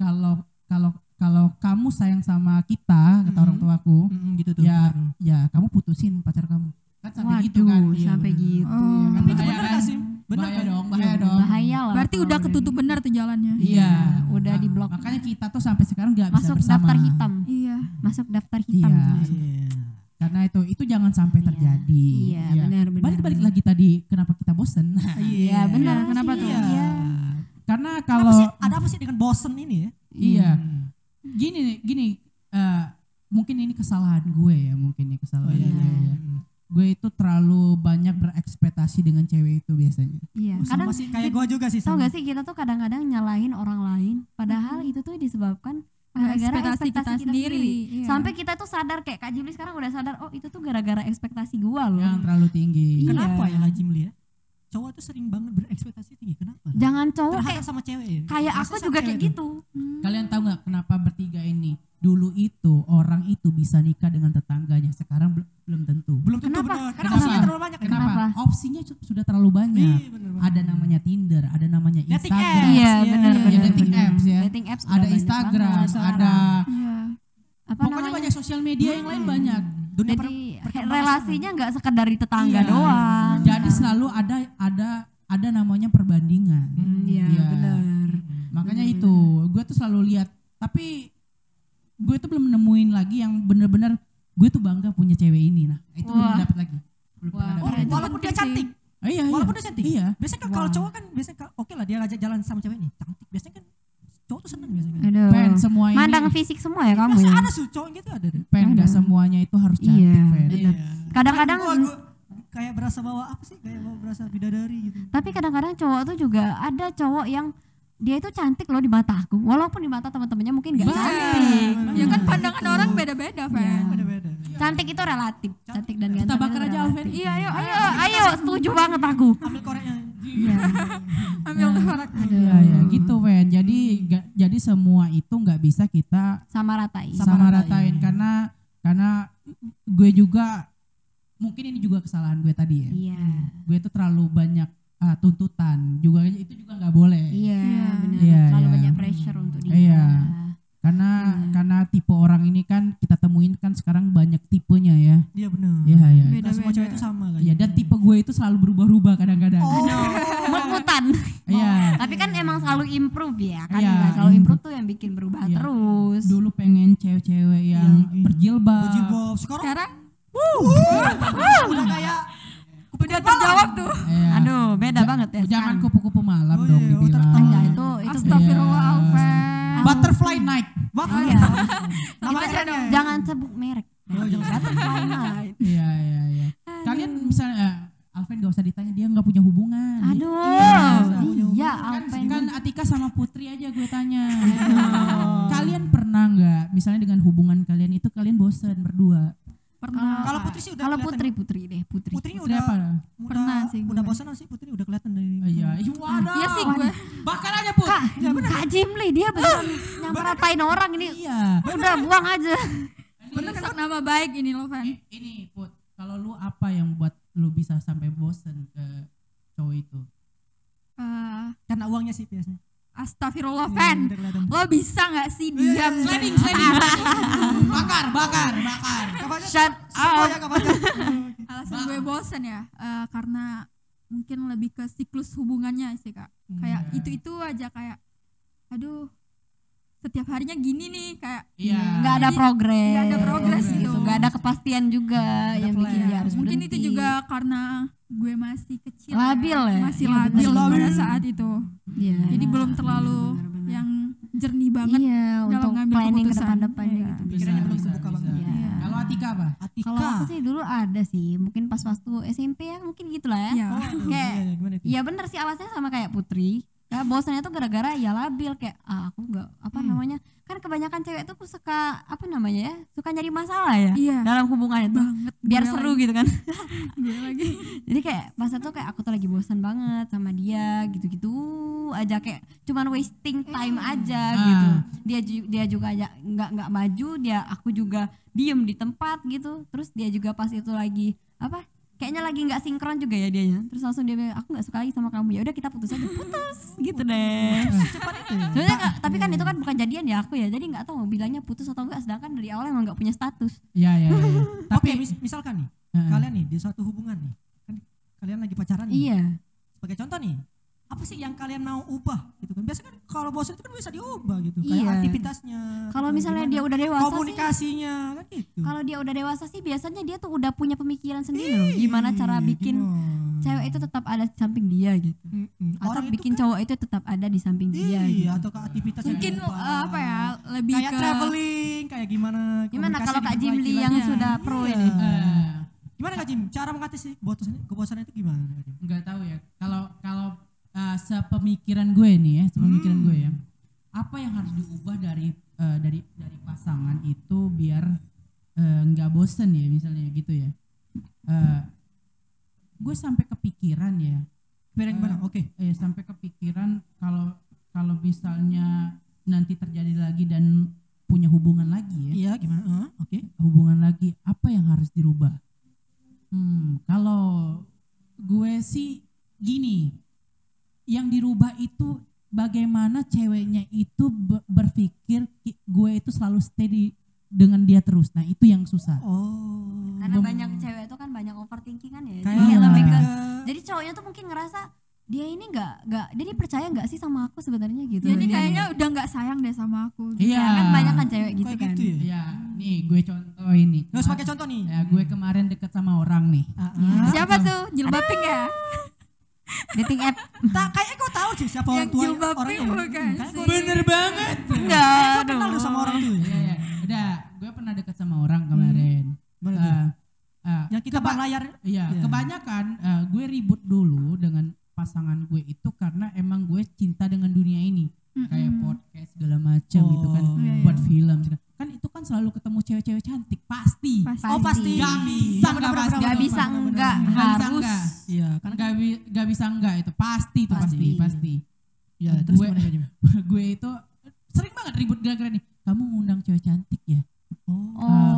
Speaker 4: kalau kalau kalau kamu sayang sama kita kata
Speaker 1: Hmm.
Speaker 4: orang tuaku
Speaker 2: Mm, gitu tuh.
Speaker 4: ya ya kamu putusin pacar kamu kan sampai gitu kan
Speaker 1: Waduh,
Speaker 4: Iya,
Speaker 1: sampai
Speaker 4: bener.
Speaker 1: gitu.
Speaker 2: Tapi itu
Speaker 4: Bahaya
Speaker 2: benar
Speaker 4: kan?
Speaker 2: gak sih? Benar
Speaker 4: bahaya
Speaker 2: kan?
Speaker 4: dong bahaya dong
Speaker 1: Bahaya lah.
Speaker 3: Berarti
Speaker 1: kalau
Speaker 3: udah ketutup benar tuh jalannya.
Speaker 4: iya
Speaker 1: udah
Speaker 4: Nah,
Speaker 1: di blok.
Speaker 4: makanya kita tuh sampai sekarang nggak bisa
Speaker 1: Masuk
Speaker 4: bersama
Speaker 1: daftar hitam.
Speaker 3: Iya.
Speaker 1: Masuk daftar hitam.
Speaker 4: iya
Speaker 2: Iya.
Speaker 4: karena itu itu jangan sampai terjadi
Speaker 1: Iya, benar, benar.
Speaker 4: balik balik lagi tadi kenapa kita bosen [LAUGHS]
Speaker 1: Iya, benar.
Speaker 3: Iya, kenapa
Speaker 1: sih,
Speaker 3: tuh?
Speaker 1: Iya.
Speaker 4: karena
Speaker 2: Kenapa
Speaker 4: kalau
Speaker 2: sih ada apa sih dengan bosen ini ya?
Speaker 4: Iya.
Speaker 1: Hmm.
Speaker 4: Gini nih, gini eh, mungkin ini kesalahan gue ya, mungkin ini kesalahan gue. ya. Gue itu terlalu banyak berekspektasi dengan cewek itu biasanya.
Speaker 1: Iya. Kadang
Speaker 2: Sama sih kayak gua juga sih.
Speaker 1: tau
Speaker 2: sama.
Speaker 1: gak sih kita tuh kadang-kadang nyalahin orang lain. Padahal itu tuh disebabkan
Speaker 3: Karena
Speaker 1: gara-gara ekspektasi, kita, sendiri.
Speaker 3: Iya.
Speaker 1: Sampai kita tuh sadar kayak Kak Juli sekarang udah sadar, oh itu tuh gara-gara ekspektasi gua loh.
Speaker 4: Yang terlalu tinggi.
Speaker 1: Iya.
Speaker 2: Kenapa ya Haji Mulia? Cowok tuh sering banget berekspektasi tinggi. Kenapa?
Speaker 1: Jangan cowok
Speaker 2: Terhadap
Speaker 1: kayak
Speaker 2: sama cewek ya?
Speaker 1: kayak
Speaker 2: Masa
Speaker 1: aku
Speaker 2: sama
Speaker 1: juga
Speaker 2: cewek
Speaker 1: kayak
Speaker 2: tuh?
Speaker 1: gitu.
Speaker 4: Kalian tahu nggak kenapa bertiga ini? Dulu itu orang itu bisa nikah dengan tetangganya, sekarang bel- belum tentu.
Speaker 2: Belum tentu
Speaker 1: Kenapa?
Speaker 2: benar. Karena
Speaker 4: Kenapa?
Speaker 2: opsinya terlalu banyak. ya?
Speaker 4: Kenapa?
Speaker 1: Kenapa?
Speaker 4: Opsinya su- sudah terlalu banyak.
Speaker 2: Iya, bener banget.
Speaker 4: ada namanya Tinder, ada namanya
Speaker 2: Dating
Speaker 4: Instagram.
Speaker 2: apps.
Speaker 1: Iya,
Speaker 2: Iya,
Speaker 1: benar
Speaker 2: iya,
Speaker 1: benar.
Speaker 4: dating
Speaker 1: benar.
Speaker 4: apps ya.
Speaker 1: Dating apps udah
Speaker 4: Ada
Speaker 1: banyak
Speaker 4: Instagram,
Speaker 1: banget
Speaker 4: ada
Speaker 1: sekarang.
Speaker 3: Iya.
Speaker 1: apa
Speaker 4: pokoknya
Speaker 1: namanya? Hmm.
Speaker 4: banyak sosial media yang lain banyak.
Speaker 2: Dunia
Speaker 1: Jadi
Speaker 2: per- perkembangan
Speaker 1: relasinya nggak sekedar dari tetangga
Speaker 4: Iya.
Speaker 1: doang.
Speaker 4: Jadi selalu ada ada ada namanya perbandingan.
Speaker 1: Iya,
Speaker 4: Iya.
Speaker 1: benar.
Speaker 4: Makanya itu, gue tuh selalu lihat. Tapi gue tuh belum nemuin lagi yang bener-bener gue tuh bangga punya cewek ini. Nah, itu belum
Speaker 1: Wah.
Speaker 4: dapat lagi. Belum
Speaker 2: sama.
Speaker 4: pernah dapet.
Speaker 2: Wala-
Speaker 3: Itu
Speaker 2: Walaupun dia
Speaker 3: penting sih.
Speaker 2: cantik.
Speaker 4: Ah, iya, iya.
Speaker 2: Walaupun dia cantik.
Speaker 4: Iya.
Speaker 2: Biasanya kan kalau cowok kan biasanya ka- oke lah dia ngajak jalan sama cewek ini cantik. Biasanya kan cowok tuh seneng biasanya. kan.
Speaker 1: Aduh.
Speaker 4: Pen, semua ini-
Speaker 1: Mandang fisik semua ya Iya, kamu
Speaker 2: Masa
Speaker 1: ya.
Speaker 2: ada sih cowok gitu ada deh.
Speaker 4: Pen gak semuanya itu harus cantik,
Speaker 1: Hmm. Iya,
Speaker 4: Pen.
Speaker 1: benar. Kadang-kadang
Speaker 2: Gua, gua kayak berasa bawa apa sih? Kayak bawa berasa bidadari gitu.
Speaker 1: tapi kadang-kadang cowok tuh juga ada cowok yang dia itu cantik loh di mata aku. Walaupun di mata teman-temannya mungkin nggak
Speaker 4: Benar.
Speaker 1: cantik.
Speaker 3: Ya kan pandangan orang beda-beda, Fan.
Speaker 2: Beda-beda.
Speaker 1: Cantik itu relatif. Cantik dan
Speaker 4: Kita
Speaker 1: ganteng. itu
Speaker 4: bakar aja,
Speaker 1: relatif.
Speaker 4: Alvin.
Speaker 1: Iya, ayo, ayo, ayo, setuju banget aku.
Speaker 2: Ambil koreknya.
Speaker 1: Iya.
Speaker 3: Ambil korak.
Speaker 4: Iya, iya,
Speaker 1: Hmm.
Speaker 4: gitu, Pen. Jadi nggak- jadi semua itu nggak bisa kita
Speaker 1: Sama iya. ratai.
Speaker 4: sama ratain karena karena gue juga mungkin ini juga kesalahan gue tadi ya
Speaker 1: Iya.
Speaker 4: gue tuh terlalu banyak ah, tuntutan juga itu juga nggak boleh
Speaker 1: Iya,
Speaker 3: Iya.
Speaker 1: benar.
Speaker 4: Iya,
Speaker 1: Terlalu
Speaker 4: iya.
Speaker 1: banyak pressure untuk dia.
Speaker 4: Iya. karena
Speaker 1: Iya.
Speaker 4: karena tipe orang ini kan kita temuin kan sekarang banyak tipenya ya
Speaker 1: Hmm.
Speaker 2: Iya benar.
Speaker 4: Iya, iya.
Speaker 2: Nggak
Speaker 3: Beda-beda.
Speaker 2: semua cewek itu sama kan.
Speaker 4: Iya dan tipe gue itu selalu berubah-ubah kadang-kadang.
Speaker 2: Oh.
Speaker 1: Mut-mutan. [LAUGHS]
Speaker 4: Iya.
Speaker 1: Tapi kan emang selalu improve ya, kan
Speaker 4: Iya,
Speaker 1: Nah, selalu
Speaker 4: improve.
Speaker 1: improve tuh yang bikin berubah
Speaker 4: Iya.
Speaker 1: terus. Iya.
Speaker 4: Dulu pengen cewek-cewek yang
Speaker 2: Yang-
Speaker 4: berjilbab.
Speaker 2: Uji Bob. Sekarang
Speaker 3: Sekarang
Speaker 2: udah kayak
Speaker 3: udah terjawab tuh.
Speaker 4: Iya.
Speaker 1: Aduh, beda banget ya.
Speaker 4: Jangan
Speaker 1: sekarang.
Speaker 4: kupu-kupu malam
Speaker 2: Oh,
Speaker 4: dong
Speaker 2: iya,
Speaker 4: dibilang.
Speaker 2: otak-otak.
Speaker 3: Hmm.
Speaker 1: Enggak, itu itu
Speaker 3: Astagfirullah
Speaker 4: Iya.
Speaker 3: Alven.
Speaker 4: Butterfly night.
Speaker 2: wah
Speaker 1: Oh,
Speaker 3: [LAUGHS]
Speaker 1: iya.
Speaker 2: nama
Speaker 1: Kita
Speaker 2: kerennya ya.
Speaker 1: jangan sebut merek.
Speaker 2: Oh,
Speaker 3: iya.
Speaker 2: jangan.
Speaker 3: [LAUGHS]
Speaker 1: Butterfly night.
Speaker 4: Iya iya iya. Kalian misalnya eh, Alvin gak usah ditanya dia nggak punya hubungan.
Speaker 1: Aduh, iya,
Speaker 4: Kan,
Speaker 1: Alpen.
Speaker 4: kan Atika sama Putri aja gue tanya. kalian pernah nggak misalnya dengan hubungan kalian itu kalian bosen berdua?
Speaker 3: Pernah.
Speaker 2: Kalau Putri sih udah
Speaker 1: Kalau
Speaker 2: kelihatan.
Speaker 1: putri, putri deh, putri.
Speaker 2: Putri
Speaker 4: Putri
Speaker 2: udah
Speaker 4: apa?
Speaker 2: udah-
Speaker 3: Pernah sih
Speaker 2: Udah
Speaker 3: gue.
Speaker 2: bosan sih Putri udah kelihatan dari.
Speaker 4: Eh, Iya. Ih, waduh.
Speaker 3: Iya sih gue.
Speaker 4: Bahkan aja Put.
Speaker 1: Kak,
Speaker 3: Ya,
Speaker 1: Kak Jimli
Speaker 3: [LAUGHS]
Speaker 1: dia beneran nyamperatain orang ini.
Speaker 4: Iya.
Speaker 1: Udah buang aja.
Speaker 3: Bener kan nama baik ini loh Van.
Speaker 4: I- ini put kalau lu apa yang buat lu bisa sampai bosen ke cowok itu
Speaker 3: Eh,
Speaker 2: Karena uangnya sih biasanya.
Speaker 3: Astagfirullah
Speaker 2: Iya,
Speaker 3: Van.
Speaker 2: udah kelihatan.
Speaker 3: Lo bisa nggak
Speaker 1: Iya,
Speaker 3: sih diam?
Speaker 4: sliding
Speaker 3: [LAUGHS]
Speaker 4: sliding bakar bakar bakar
Speaker 2: Kapannya
Speaker 1: Shut
Speaker 2: Oh ya
Speaker 1: up.
Speaker 2: kapannya.
Speaker 3: Alasan gue bosen ya eh, karena mungkin lebih ke siklus hubungannya sih kak. Kayak
Speaker 4: Iya.
Speaker 3: itu itu aja kayak, aduh setiap harinya gini nih kayak.
Speaker 4: iya
Speaker 1: Nggak ada progres.
Speaker 3: Nggak ada progres
Speaker 1: gitu.
Speaker 3: itu.
Speaker 1: Nggak ada kepastian juga yang bikin dia Iya, harus
Speaker 3: mungkin
Speaker 1: berhenti.
Speaker 3: itu juga karena gue masih kecil.
Speaker 1: Labil ya?
Speaker 3: Masih
Speaker 1: Iya,
Speaker 3: labil
Speaker 1: bener sih.
Speaker 3: pada saat itu.
Speaker 1: Iya.
Speaker 3: Jadi belum terlalu yang jernih banget.
Speaker 1: iya,
Speaker 3: dalam
Speaker 1: untuk
Speaker 3: ngambil
Speaker 1: planning ke
Speaker 3: keputusan.
Speaker 1: depan-depannya
Speaker 3: Iya.
Speaker 1: gitu.
Speaker 2: Pikirannya belum kebuka banget.
Speaker 1: Iya.
Speaker 4: kalau Atika apa
Speaker 2: Atika.
Speaker 1: Kalau aku sih dulu ada sih, mungkin pas waktu SMP ya, mungkin gitulah ya.
Speaker 3: Iya.
Speaker 2: Oh, aduh,
Speaker 1: Kayak-
Speaker 2: iya, iya, gimana itu?
Speaker 1: Iya bener sih alasannya sama kayak Putri. Ya bosannya tuh gara-gara ya labil kayak ah, aku nggak apa
Speaker 2: Hmm.
Speaker 1: namanya kan kebanyakan cewek tuh suka apa namanya ya suka nyari masalah ya
Speaker 3: Iya.
Speaker 1: dalam hubungan itu biar
Speaker 3: Gue
Speaker 1: seru gitu kan
Speaker 3: Gue lagi.
Speaker 1: jadi kayak pas itu kayak aku tuh lagi bosan banget sama dia gitu-gitu aja kayak cuman wasting time aja
Speaker 4: Ah.
Speaker 1: gitu dia ju- dia juga aja nggak nggak maju dia aku juga diem di tempat gitu terus dia juga pas itu lagi apa kayaknya lagi nggak sinkron juga ya dianya terus langsung dia bilang aku nggak suka lagi sama kamu ya udah kita putus aja putus gitu deh
Speaker 2: Cepat itu ya.
Speaker 1: Sebenarnya nggak- tapi kan itu kan bukan jadian ya aku ya jadi nggak tahu mau bilangnya putus atau enggak sedangkan dari awal emang nggak punya status
Speaker 4: iya iya iya.
Speaker 2: Oke,
Speaker 4: tapi
Speaker 2: mis- misalkan nih,
Speaker 4: Heeh.
Speaker 2: kalian nih di suatu hubungan nih, kan kalian lagi pacaran nih.
Speaker 1: iya
Speaker 2: Sebagai contoh nih, apa sih yang kalian mau ubah gitu kan? Biasanya kan kalau bosan itu kan bisa diubah gitu,
Speaker 1: Iya.
Speaker 2: kayak aktivitasnya.
Speaker 1: kalau
Speaker 2: atau
Speaker 1: misalnya dia
Speaker 2: gimana.
Speaker 1: udah dewasa sih
Speaker 2: komunikasinya kan gitu.
Speaker 1: kalau dia udah dewasa sih biasanya dia tuh udah punya pemikiran sendiri
Speaker 2: Iya,
Speaker 1: loh gimana
Speaker 2: gitu
Speaker 1: cara bikin cewek itu tetap ada di samping dia gitu atau bikin
Speaker 2: cowok
Speaker 1: cowok itu tetap ada di samping dia
Speaker 2: Oh, kan iya,
Speaker 1: gitu.
Speaker 2: atau ke aktivitas yang
Speaker 3: Mungkin
Speaker 2: diubah.
Speaker 3: eh, apa ya lebih
Speaker 2: kayak
Speaker 3: ke
Speaker 2: traveling kayak gimana
Speaker 1: gimana
Speaker 2: komunikasi
Speaker 1: kalau Kak
Speaker 2: diperbaiki
Speaker 1: Jimli
Speaker 2: lagi.
Speaker 1: yang
Speaker 2: Iya.
Speaker 1: sudah pro
Speaker 2: Iya.
Speaker 1: ini
Speaker 4: eh,
Speaker 2: gimana Kak Jim cara mengatasi bosan kebosanan itu gimana Kak Jim?
Speaker 4: nggak tahu ya kalau kalau eh, sepemikiran gue nih ya sepemikiran gue ya apa yang harus diubah dari eh, dari dari pasangan itu biar eh, nggak bosen ya misalnya gitu ya Eh, gue sampai kepikiran ya
Speaker 2: Biar yang gimana
Speaker 4: Eh,
Speaker 2: oke
Speaker 4: eh, sampai kepikiran kalau kalau misalnya nanti terjadi lagi dan punya hubungan lagi ya
Speaker 2: iya gimana Eh, oke
Speaker 4: hubungan lagi apa yang harus dirubah hmm, kalau gue sih gini yang dirubah itu bagaimana ceweknya itu be- berpikir ki- gue itu selalu stay di- dengan dia terus nah itu yang susah
Speaker 2: oh
Speaker 1: karena
Speaker 4: Belum-
Speaker 1: banyak cewek itu kan banyak overthinking kan ya jadi
Speaker 2: Kayak
Speaker 1: kayak lebih ke
Speaker 2: ke-
Speaker 1: jadi cowoknya tuh mungkin ngerasa dia ini nggak nggak dia ini percaya nggak sih sama aku sebenarnya gitu
Speaker 3: jadi kayaknya udah nggak sayang deh sama aku.
Speaker 2: iya,
Speaker 1: ya, kan banyak kan cewek gitu
Speaker 2: kayak
Speaker 1: kan
Speaker 2: gitu ya
Speaker 4: Iya, nih gue contoh ini
Speaker 2: Nggak sebagai contoh nih
Speaker 4: ya gue kemarin deket sama orang nih
Speaker 2: Ah, ah.
Speaker 3: Siapa tuh? Jilbab pink ya?
Speaker 1: dating app
Speaker 2: tak kayaknya gue tahu sih siapa orang
Speaker 3: Yang
Speaker 2: tua
Speaker 3: jilbab
Speaker 2: orangnya
Speaker 3: pink
Speaker 2: Hmm,
Speaker 3: bukan
Speaker 2: kayaknya
Speaker 3: sih?
Speaker 4: bener banget
Speaker 1: enggak
Speaker 2: gue kenal tuh sama orang tuh
Speaker 4: Iya, iya. Udah, gue pernah deket sama orang kemarin.
Speaker 2: Hmm. Gimana tuh?
Speaker 4: Eh, eh,
Speaker 2: yang kita
Speaker 4: keba-
Speaker 2: bang layar
Speaker 4: Iya,
Speaker 2: Iya.
Speaker 4: kebanyakan eh, gue ribut dulu dengan pasangan gue itu karena emang gue cinta dengan dunia ini. Kayak podcast segala macam gitu kan,
Speaker 2: Oh.
Speaker 3: Iya,
Speaker 4: buat
Speaker 3: iya.
Speaker 4: film segala. Kan itu kan selalu ketemu cewek-cewek cantik, pasti.
Speaker 3: Pasti.
Speaker 2: oh pasti
Speaker 4: Nggak bisa,
Speaker 2: Iya, benar,
Speaker 4: nggak
Speaker 2: benar,
Speaker 4: pasti.
Speaker 1: nggak
Speaker 2: benar,
Speaker 1: bisa
Speaker 2: benar, benar, benar.
Speaker 1: enggak
Speaker 4: Nggak bisa
Speaker 1: harus
Speaker 4: enggak.
Speaker 2: iya karena
Speaker 4: Gak, bi- gak bisa enggak itu, pasti itu
Speaker 1: Pasti.
Speaker 4: pasti, pasti. [LAUGHS]
Speaker 2: ya
Speaker 4: Eh,
Speaker 2: terus
Speaker 4: gue-
Speaker 2: gimana Kak Jim?
Speaker 4: gue itu sering banget ribut gara-gara nih. Kamu ngundang cewek cantik ya?
Speaker 2: oh
Speaker 1: oh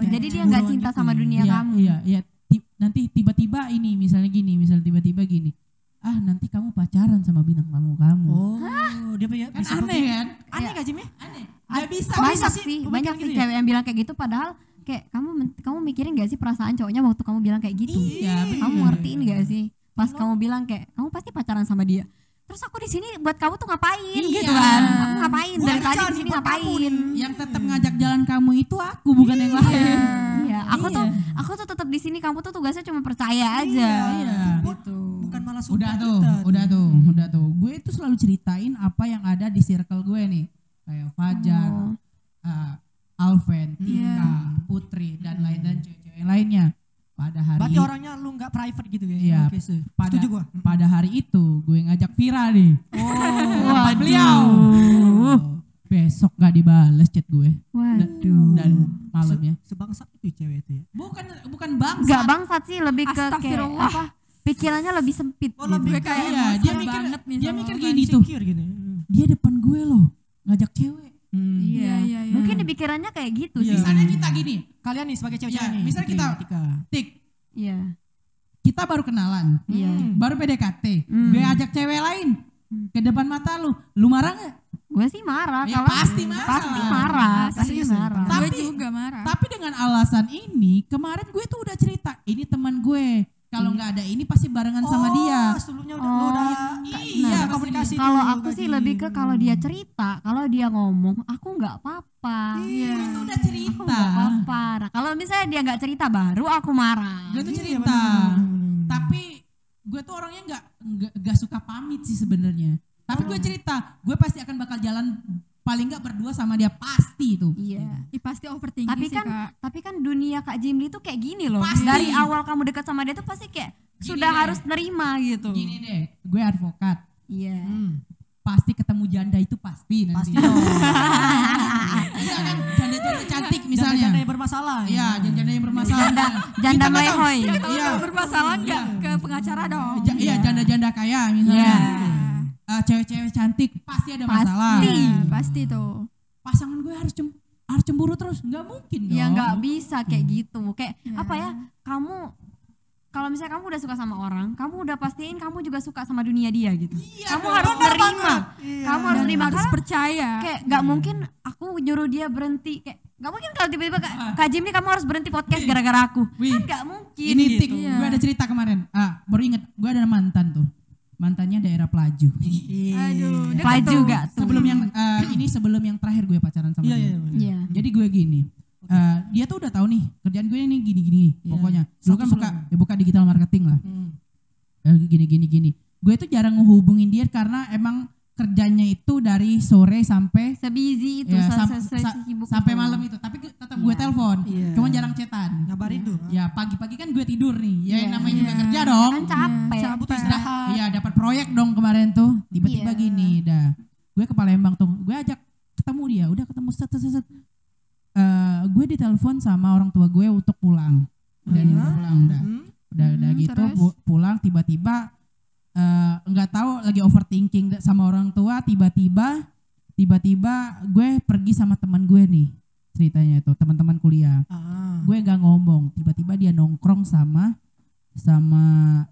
Speaker 4: Kayak
Speaker 1: jadi dia nggak
Speaker 2: cemburuan
Speaker 1: cinta
Speaker 2: gitu
Speaker 1: sama
Speaker 2: ya.
Speaker 1: dunia
Speaker 4: iya,
Speaker 1: kamu
Speaker 4: Iya, iya. Ti- nanti tiba-tiba ini misalnya gini misalnya tiba-tiba gini ah nanti kamu pacaran sama bintang tamu kamu
Speaker 2: Oh, dia punya
Speaker 4: kan
Speaker 2: bisa
Speaker 4: aneh
Speaker 2: berpikir-
Speaker 4: kan
Speaker 2: Aneh gak Jimmy? Aneh. Gak bisa. masa
Speaker 1: banyak sih
Speaker 2: pemikiran
Speaker 1: banyak sih
Speaker 2: gitu ya?
Speaker 1: cewek yang bilang kayak gitu padahal kayak kamu men- kamu mikirin gak sih perasaan cowoknya waktu kamu bilang kayak gitu
Speaker 4: Iya,
Speaker 1: kamu
Speaker 4: bener.
Speaker 1: ngertiin gak sih pas kamu bilang kayak kamu pasti pacaran sama dia terus aku di sini buat kamu tuh ngapain
Speaker 4: Iya.
Speaker 1: gitu kan kamu ngapain
Speaker 2: Gua
Speaker 1: dari
Speaker 2: ada
Speaker 1: tadi
Speaker 2: cari
Speaker 1: di sini
Speaker 2: buat kamu
Speaker 1: ngapain
Speaker 4: yang tetap ngajak jalan kamu itu aku bukan yang lain
Speaker 1: iya aku
Speaker 4: Iya.
Speaker 1: tuh aku tuh tetap di sini kamu tuh tugasnya cuma percaya aja
Speaker 4: Iya.
Speaker 1: gitu
Speaker 2: Bukan malah suka
Speaker 4: udah tuh
Speaker 2: kita.
Speaker 4: udah tuh udah tuh gue itu selalu ceritain apa yang ada di circle gue nih kayak Fajar
Speaker 1: Oh.
Speaker 4: eh, Alven Tika Putri dan lain dan cewek-cewek lainnya pada hari
Speaker 2: Berarti orangnya lu gak private gitu ya?
Speaker 4: Iya.
Speaker 2: Oke, setuju.
Speaker 4: pada,
Speaker 2: setuju gua.
Speaker 4: pada hari itu gue ngajak Vira nih
Speaker 2: Oh.
Speaker 1: Waduh.
Speaker 4: beliau besok gak dibales chat gue Dan-
Speaker 1: waduh
Speaker 4: dan [LAUGHS] malam ya
Speaker 2: Se- Sebangsat itu cewek itu ya.
Speaker 4: bukan bukan bangsa
Speaker 1: nggak bangsat sih lebih ke kayak
Speaker 3: Astagfirullah.
Speaker 1: apa pikirannya lebih sempit
Speaker 2: Oh,
Speaker 1: gitu.
Speaker 2: lebih
Speaker 3: Gue kayak
Speaker 4: Iya,
Speaker 3: emosi
Speaker 4: dia mikir-
Speaker 3: banget nih
Speaker 4: dia
Speaker 3: sama
Speaker 4: mikir
Speaker 3: orang.
Speaker 4: gini tuh
Speaker 2: Insecure gitu. Hmm.
Speaker 4: dia depan gue loh ngajak cewek
Speaker 1: iya
Speaker 3: Iya, iya, iya.
Speaker 1: mungkin di pikirannya kayak gitu
Speaker 2: Iya.
Speaker 1: sih
Speaker 4: misalnya kita gini
Speaker 2: Kalian nih sebagai cewek-cewek
Speaker 4: Ya,
Speaker 2: nih.
Speaker 4: misalnya
Speaker 2: Putri,
Speaker 4: kita-
Speaker 2: Tika.
Speaker 4: tik
Speaker 1: iya
Speaker 4: kita baru kenalan
Speaker 1: iya
Speaker 2: Hmm.
Speaker 4: baru PDKT gue ajak cewek lain ke depan mata lu lu marah nggak
Speaker 1: gue sih marah
Speaker 4: Ya,
Speaker 1: kalau
Speaker 4: pasti marah.
Speaker 1: pasti marah pasti
Speaker 2: Serius,
Speaker 1: marah
Speaker 4: Tapi-
Speaker 3: gue juga marah
Speaker 4: tapi dengan alasan ini kemarin gue tuh udah cerita ini teman gue kalau nggak ada ini pasti barengan
Speaker 2: Oh,
Speaker 4: sama dia
Speaker 2: Sebelumnya udah, lu udah ya-
Speaker 4: Nah,
Speaker 2: iya, komunikasi
Speaker 1: kalau
Speaker 2: dulu
Speaker 1: aku sih
Speaker 2: tadi.
Speaker 1: lebih ke kalau dia cerita kalau dia ngomong aku nggak apa-apa
Speaker 4: Iya, gue tuh udah
Speaker 1: aku
Speaker 4: cerita
Speaker 1: nggak apa-apa Nah, kalau misalnya dia nggak cerita baru aku marah
Speaker 4: gue tuh
Speaker 2: Iya,
Speaker 4: cerita
Speaker 2: benar, benar, benar, benar.
Speaker 4: tapi gue tuh orangnya nggak nggak- nggak suka pamit sih sebenarnya tapi gue cerita gue pasti akan bakal jalan paling nggak berdua sama dia pasti itu
Speaker 1: iya
Speaker 3: Ih, pasti overthinking
Speaker 1: tapi
Speaker 3: sih
Speaker 1: kan
Speaker 3: kak
Speaker 1: tapi kan dunia kak Jimli tuh kayak gini loh
Speaker 4: Pasti.
Speaker 1: dari awal kamu dekat sama dia tuh pasti kayak
Speaker 4: Gini
Speaker 1: sudah
Speaker 4: deh.
Speaker 1: harus nerima gitu
Speaker 4: gini deh gue advokat
Speaker 1: iya
Speaker 2: Hmm.
Speaker 4: pasti ketemu janda itu pasti nanti
Speaker 2: Pasti
Speaker 4: [LAUGHS]
Speaker 2: dong.
Speaker 4: Iya kan janda-janda cantik misalnya
Speaker 2: Janda-janda yang bermasalah. ya.
Speaker 4: Iya, janda-janda yang bermasalah
Speaker 1: [LAUGHS] [LAUGHS] janda
Speaker 4: Kita nggak tahu.
Speaker 1: melehoy
Speaker 4: Kita
Speaker 3: kalau
Speaker 4: Iya.
Speaker 3: udah bermasalah nggak ke pengacara dong
Speaker 4: Ja- iya janda-janda kaya misalnya
Speaker 1: Iya.
Speaker 4: Eh, cewek-cewek cantik pasti ada
Speaker 1: Pasti.
Speaker 4: masalah
Speaker 3: Iya, pasti tuh
Speaker 4: pasangan gue harus cem harus cemburu terus nggak mungkin dong
Speaker 1: ya nggak bisa kayak
Speaker 4: Hmm.
Speaker 1: gitu kayak
Speaker 3: Ya.
Speaker 1: apa ya kamu kalau misalnya kamu udah suka sama orang kamu udah pastiin kamu juga suka sama dunia dia gitu
Speaker 4: Iya,
Speaker 1: kamu harus nerima kamu harus
Speaker 3: Dan
Speaker 1: nerima
Speaker 3: harus
Speaker 1: Karena
Speaker 3: percaya
Speaker 1: kayak nggak
Speaker 4: Iya.
Speaker 1: mungkin aku nyuruh dia berhenti kayak nggak mungkin kalau tiba-tiba kak, kak Jim nih kamu harus berhenti podcast gara-gara aku
Speaker 4: Ah. Wih.
Speaker 1: kan nggak mungkin
Speaker 4: ini
Speaker 1: gitu.
Speaker 4: tik gue ada cerita kemarin ah baru inget gue ada mantan tuh mantannya daerah Pelaju [LAUGHS]
Speaker 2: Iya.
Speaker 3: aduh deket
Speaker 1: Paju
Speaker 3: tuh.
Speaker 1: juga tuh
Speaker 4: Iya, gitu.
Speaker 1: Hmm.
Speaker 4: sebelum yang eh, ini sebelum yang terakhir gue pacaran sama
Speaker 2: Iya,
Speaker 4: dia
Speaker 2: iya. iya.
Speaker 1: iya
Speaker 4: Jadi gue gini, eh, dia tuh udah tahu nih kerjaan gue ini gini-gini
Speaker 1: Iya.
Speaker 4: pokoknya. Dulu
Speaker 2: Satu
Speaker 4: kan buka
Speaker 2: sebelumnya.
Speaker 4: ya buka digital marketing lah.
Speaker 2: Hmm.
Speaker 4: Eh, gini gini gini. Gue tuh jarang ngehubungin dia karena emang kerjanya itu dari sore sampai
Speaker 1: sebisi itu
Speaker 4: ya,
Speaker 1: se-
Speaker 4: sam-
Speaker 1: se- se-
Speaker 4: sa-
Speaker 1: sibuk
Speaker 4: sampai
Speaker 1: itu.
Speaker 4: malam itu. Tapi gue- tetap
Speaker 1: Iya.
Speaker 4: gue telepon.
Speaker 2: Iya.
Speaker 4: Cuman jarang cetan.
Speaker 2: Ngabarin tuh.
Speaker 4: Ya pagi-pagi kan gue tidur nih. Ya
Speaker 1: Iya.
Speaker 4: namanya juga
Speaker 3: Iya.
Speaker 4: kerja dong.
Speaker 1: kan capek
Speaker 3: Iya,
Speaker 2: Butuh
Speaker 3: capek.
Speaker 2: istirahat.
Speaker 4: Iya dapat proyek dong kemarin tuh. Tiba-tiba
Speaker 1: Iya.
Speaker 4: gini, dah. Gue ke Palembang tuh. Gue ajak ketemu dia. Udah ketemu set set set. set. Eh, gue ditelepon sama orang tua gue untuk pulang. Udah
Speaker 2: Hmm.
Speaker 4: disuruh pulang udah.
Speaker 2: Hmm.
Speaker 4: Udah udah
Speaker 3: Hmm,
Speaker 4: gitu
Speaker 3: terus?
Speaker 4: pu- pulang tiba-tiba eh, nggak tahu lagi overthinking dah sama orang tua tiba-tiba tiba-tiba gue pergi sama teman gue nih ceritanya itu teman-teman kuliah
Speaker 2: Ah.
Speaker 4: gue gak ngomong tiba-tiba dia nongkrong sama sama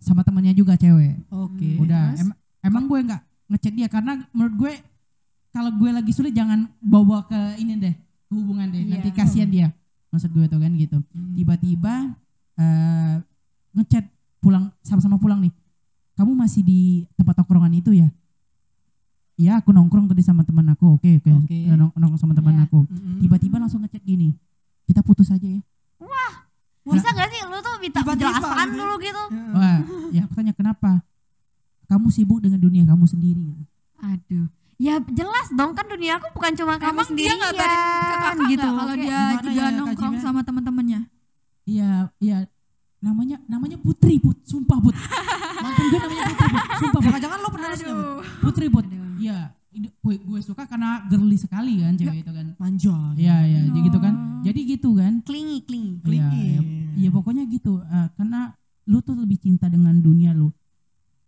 Speaker 4: sama temannya juga cewek
Speaker 2: Oke.
Speaker 4: udah
Speaker 1: Gitu. terus?
Speaker 4: em- emang gue nggak ngechat dia karena menurut gue kalau gue lagi sulit jangan bawa ke ini deh ke hubungan deh
Speaker 1: Iya.
Speaker 4: nanti kasihan dia maksud gue tuh kan gitu
Speaker 2: Hmm.
Speaker 4: tiba-tiba eh, ngechat pulang sama-sama pulang nih kamu masih di tempat tongkrongan itu ya Iya aku nongkrong tadi sama teman aku oke oke
Speaker 2: Oke.
Speaker 4: Eh, nong- nongkrong sama teman
Speaker 1: Iya.
Speaker 4: aku
Speaker 2: Mm-mm.
Speaker 4: tiba-tiba langsung ngechat gini kita putus aja
Speaker 1: [LAUGHS]
Speaker 4: ya
Speaker 1: bisa gak sih lu tuh minta
Speaker 2: Tiba-tiba
Speaker 1: penjelasan
Speaker 2: gitu.
Speaker 1: dulu gitu
Speaker 2: Heeh.
Speaker 4: Wah, ya aku tanya kenapa kamu sibuk dengan dunia kamu sendiri
Speaker 1: aduh ya jelas dong kan dunia aku bukan cuma kamu
Speaker 3: Emang dia
Speaker 1: sendirian
Speaker 3: nggak tadi ke kakak
Speaker 1: gitu
Speaker 3: gitu kalau
Speaker 1: Kayak-
Speaker 3: dia
Speaker 2: gimana
Speaker 3: juga
Speaker 2: ya, Kak
Speaker 3: nongkrong
Speaker 2: Jimena?
Speaker 3: sama teman-temannya
Speaker 4: Iya, iya. Namanya namanya Putri, Put. Sumpah,
Speaker 1: [LAUGHS]
Speaker 4: Put. Mantan gue namanya Putri, Put. Sumpah, Put.
Speaker 2: Jangan-jangan lo pernah nanya
Speaker 4: Putri, Put. Iya. Ini Gue, gue suka karena girly sekali kan
Speaker 1: Ya.
Speaker 4: cewek itu kan.
Speaker 2: manja.
Speaker 4: Iya, iya, jadi gitu kan.
Speaker 1: Oh.
Speaker 4: Jadi gitu kan.
Speaker 1: klingi klingi
Speaker 4: Iya,
Speaker 2: Klingi.
Speaker 4: iya. Iya, pokoknya gitu. Eh, karena lu tuh lebih cinta dengan dunia lu.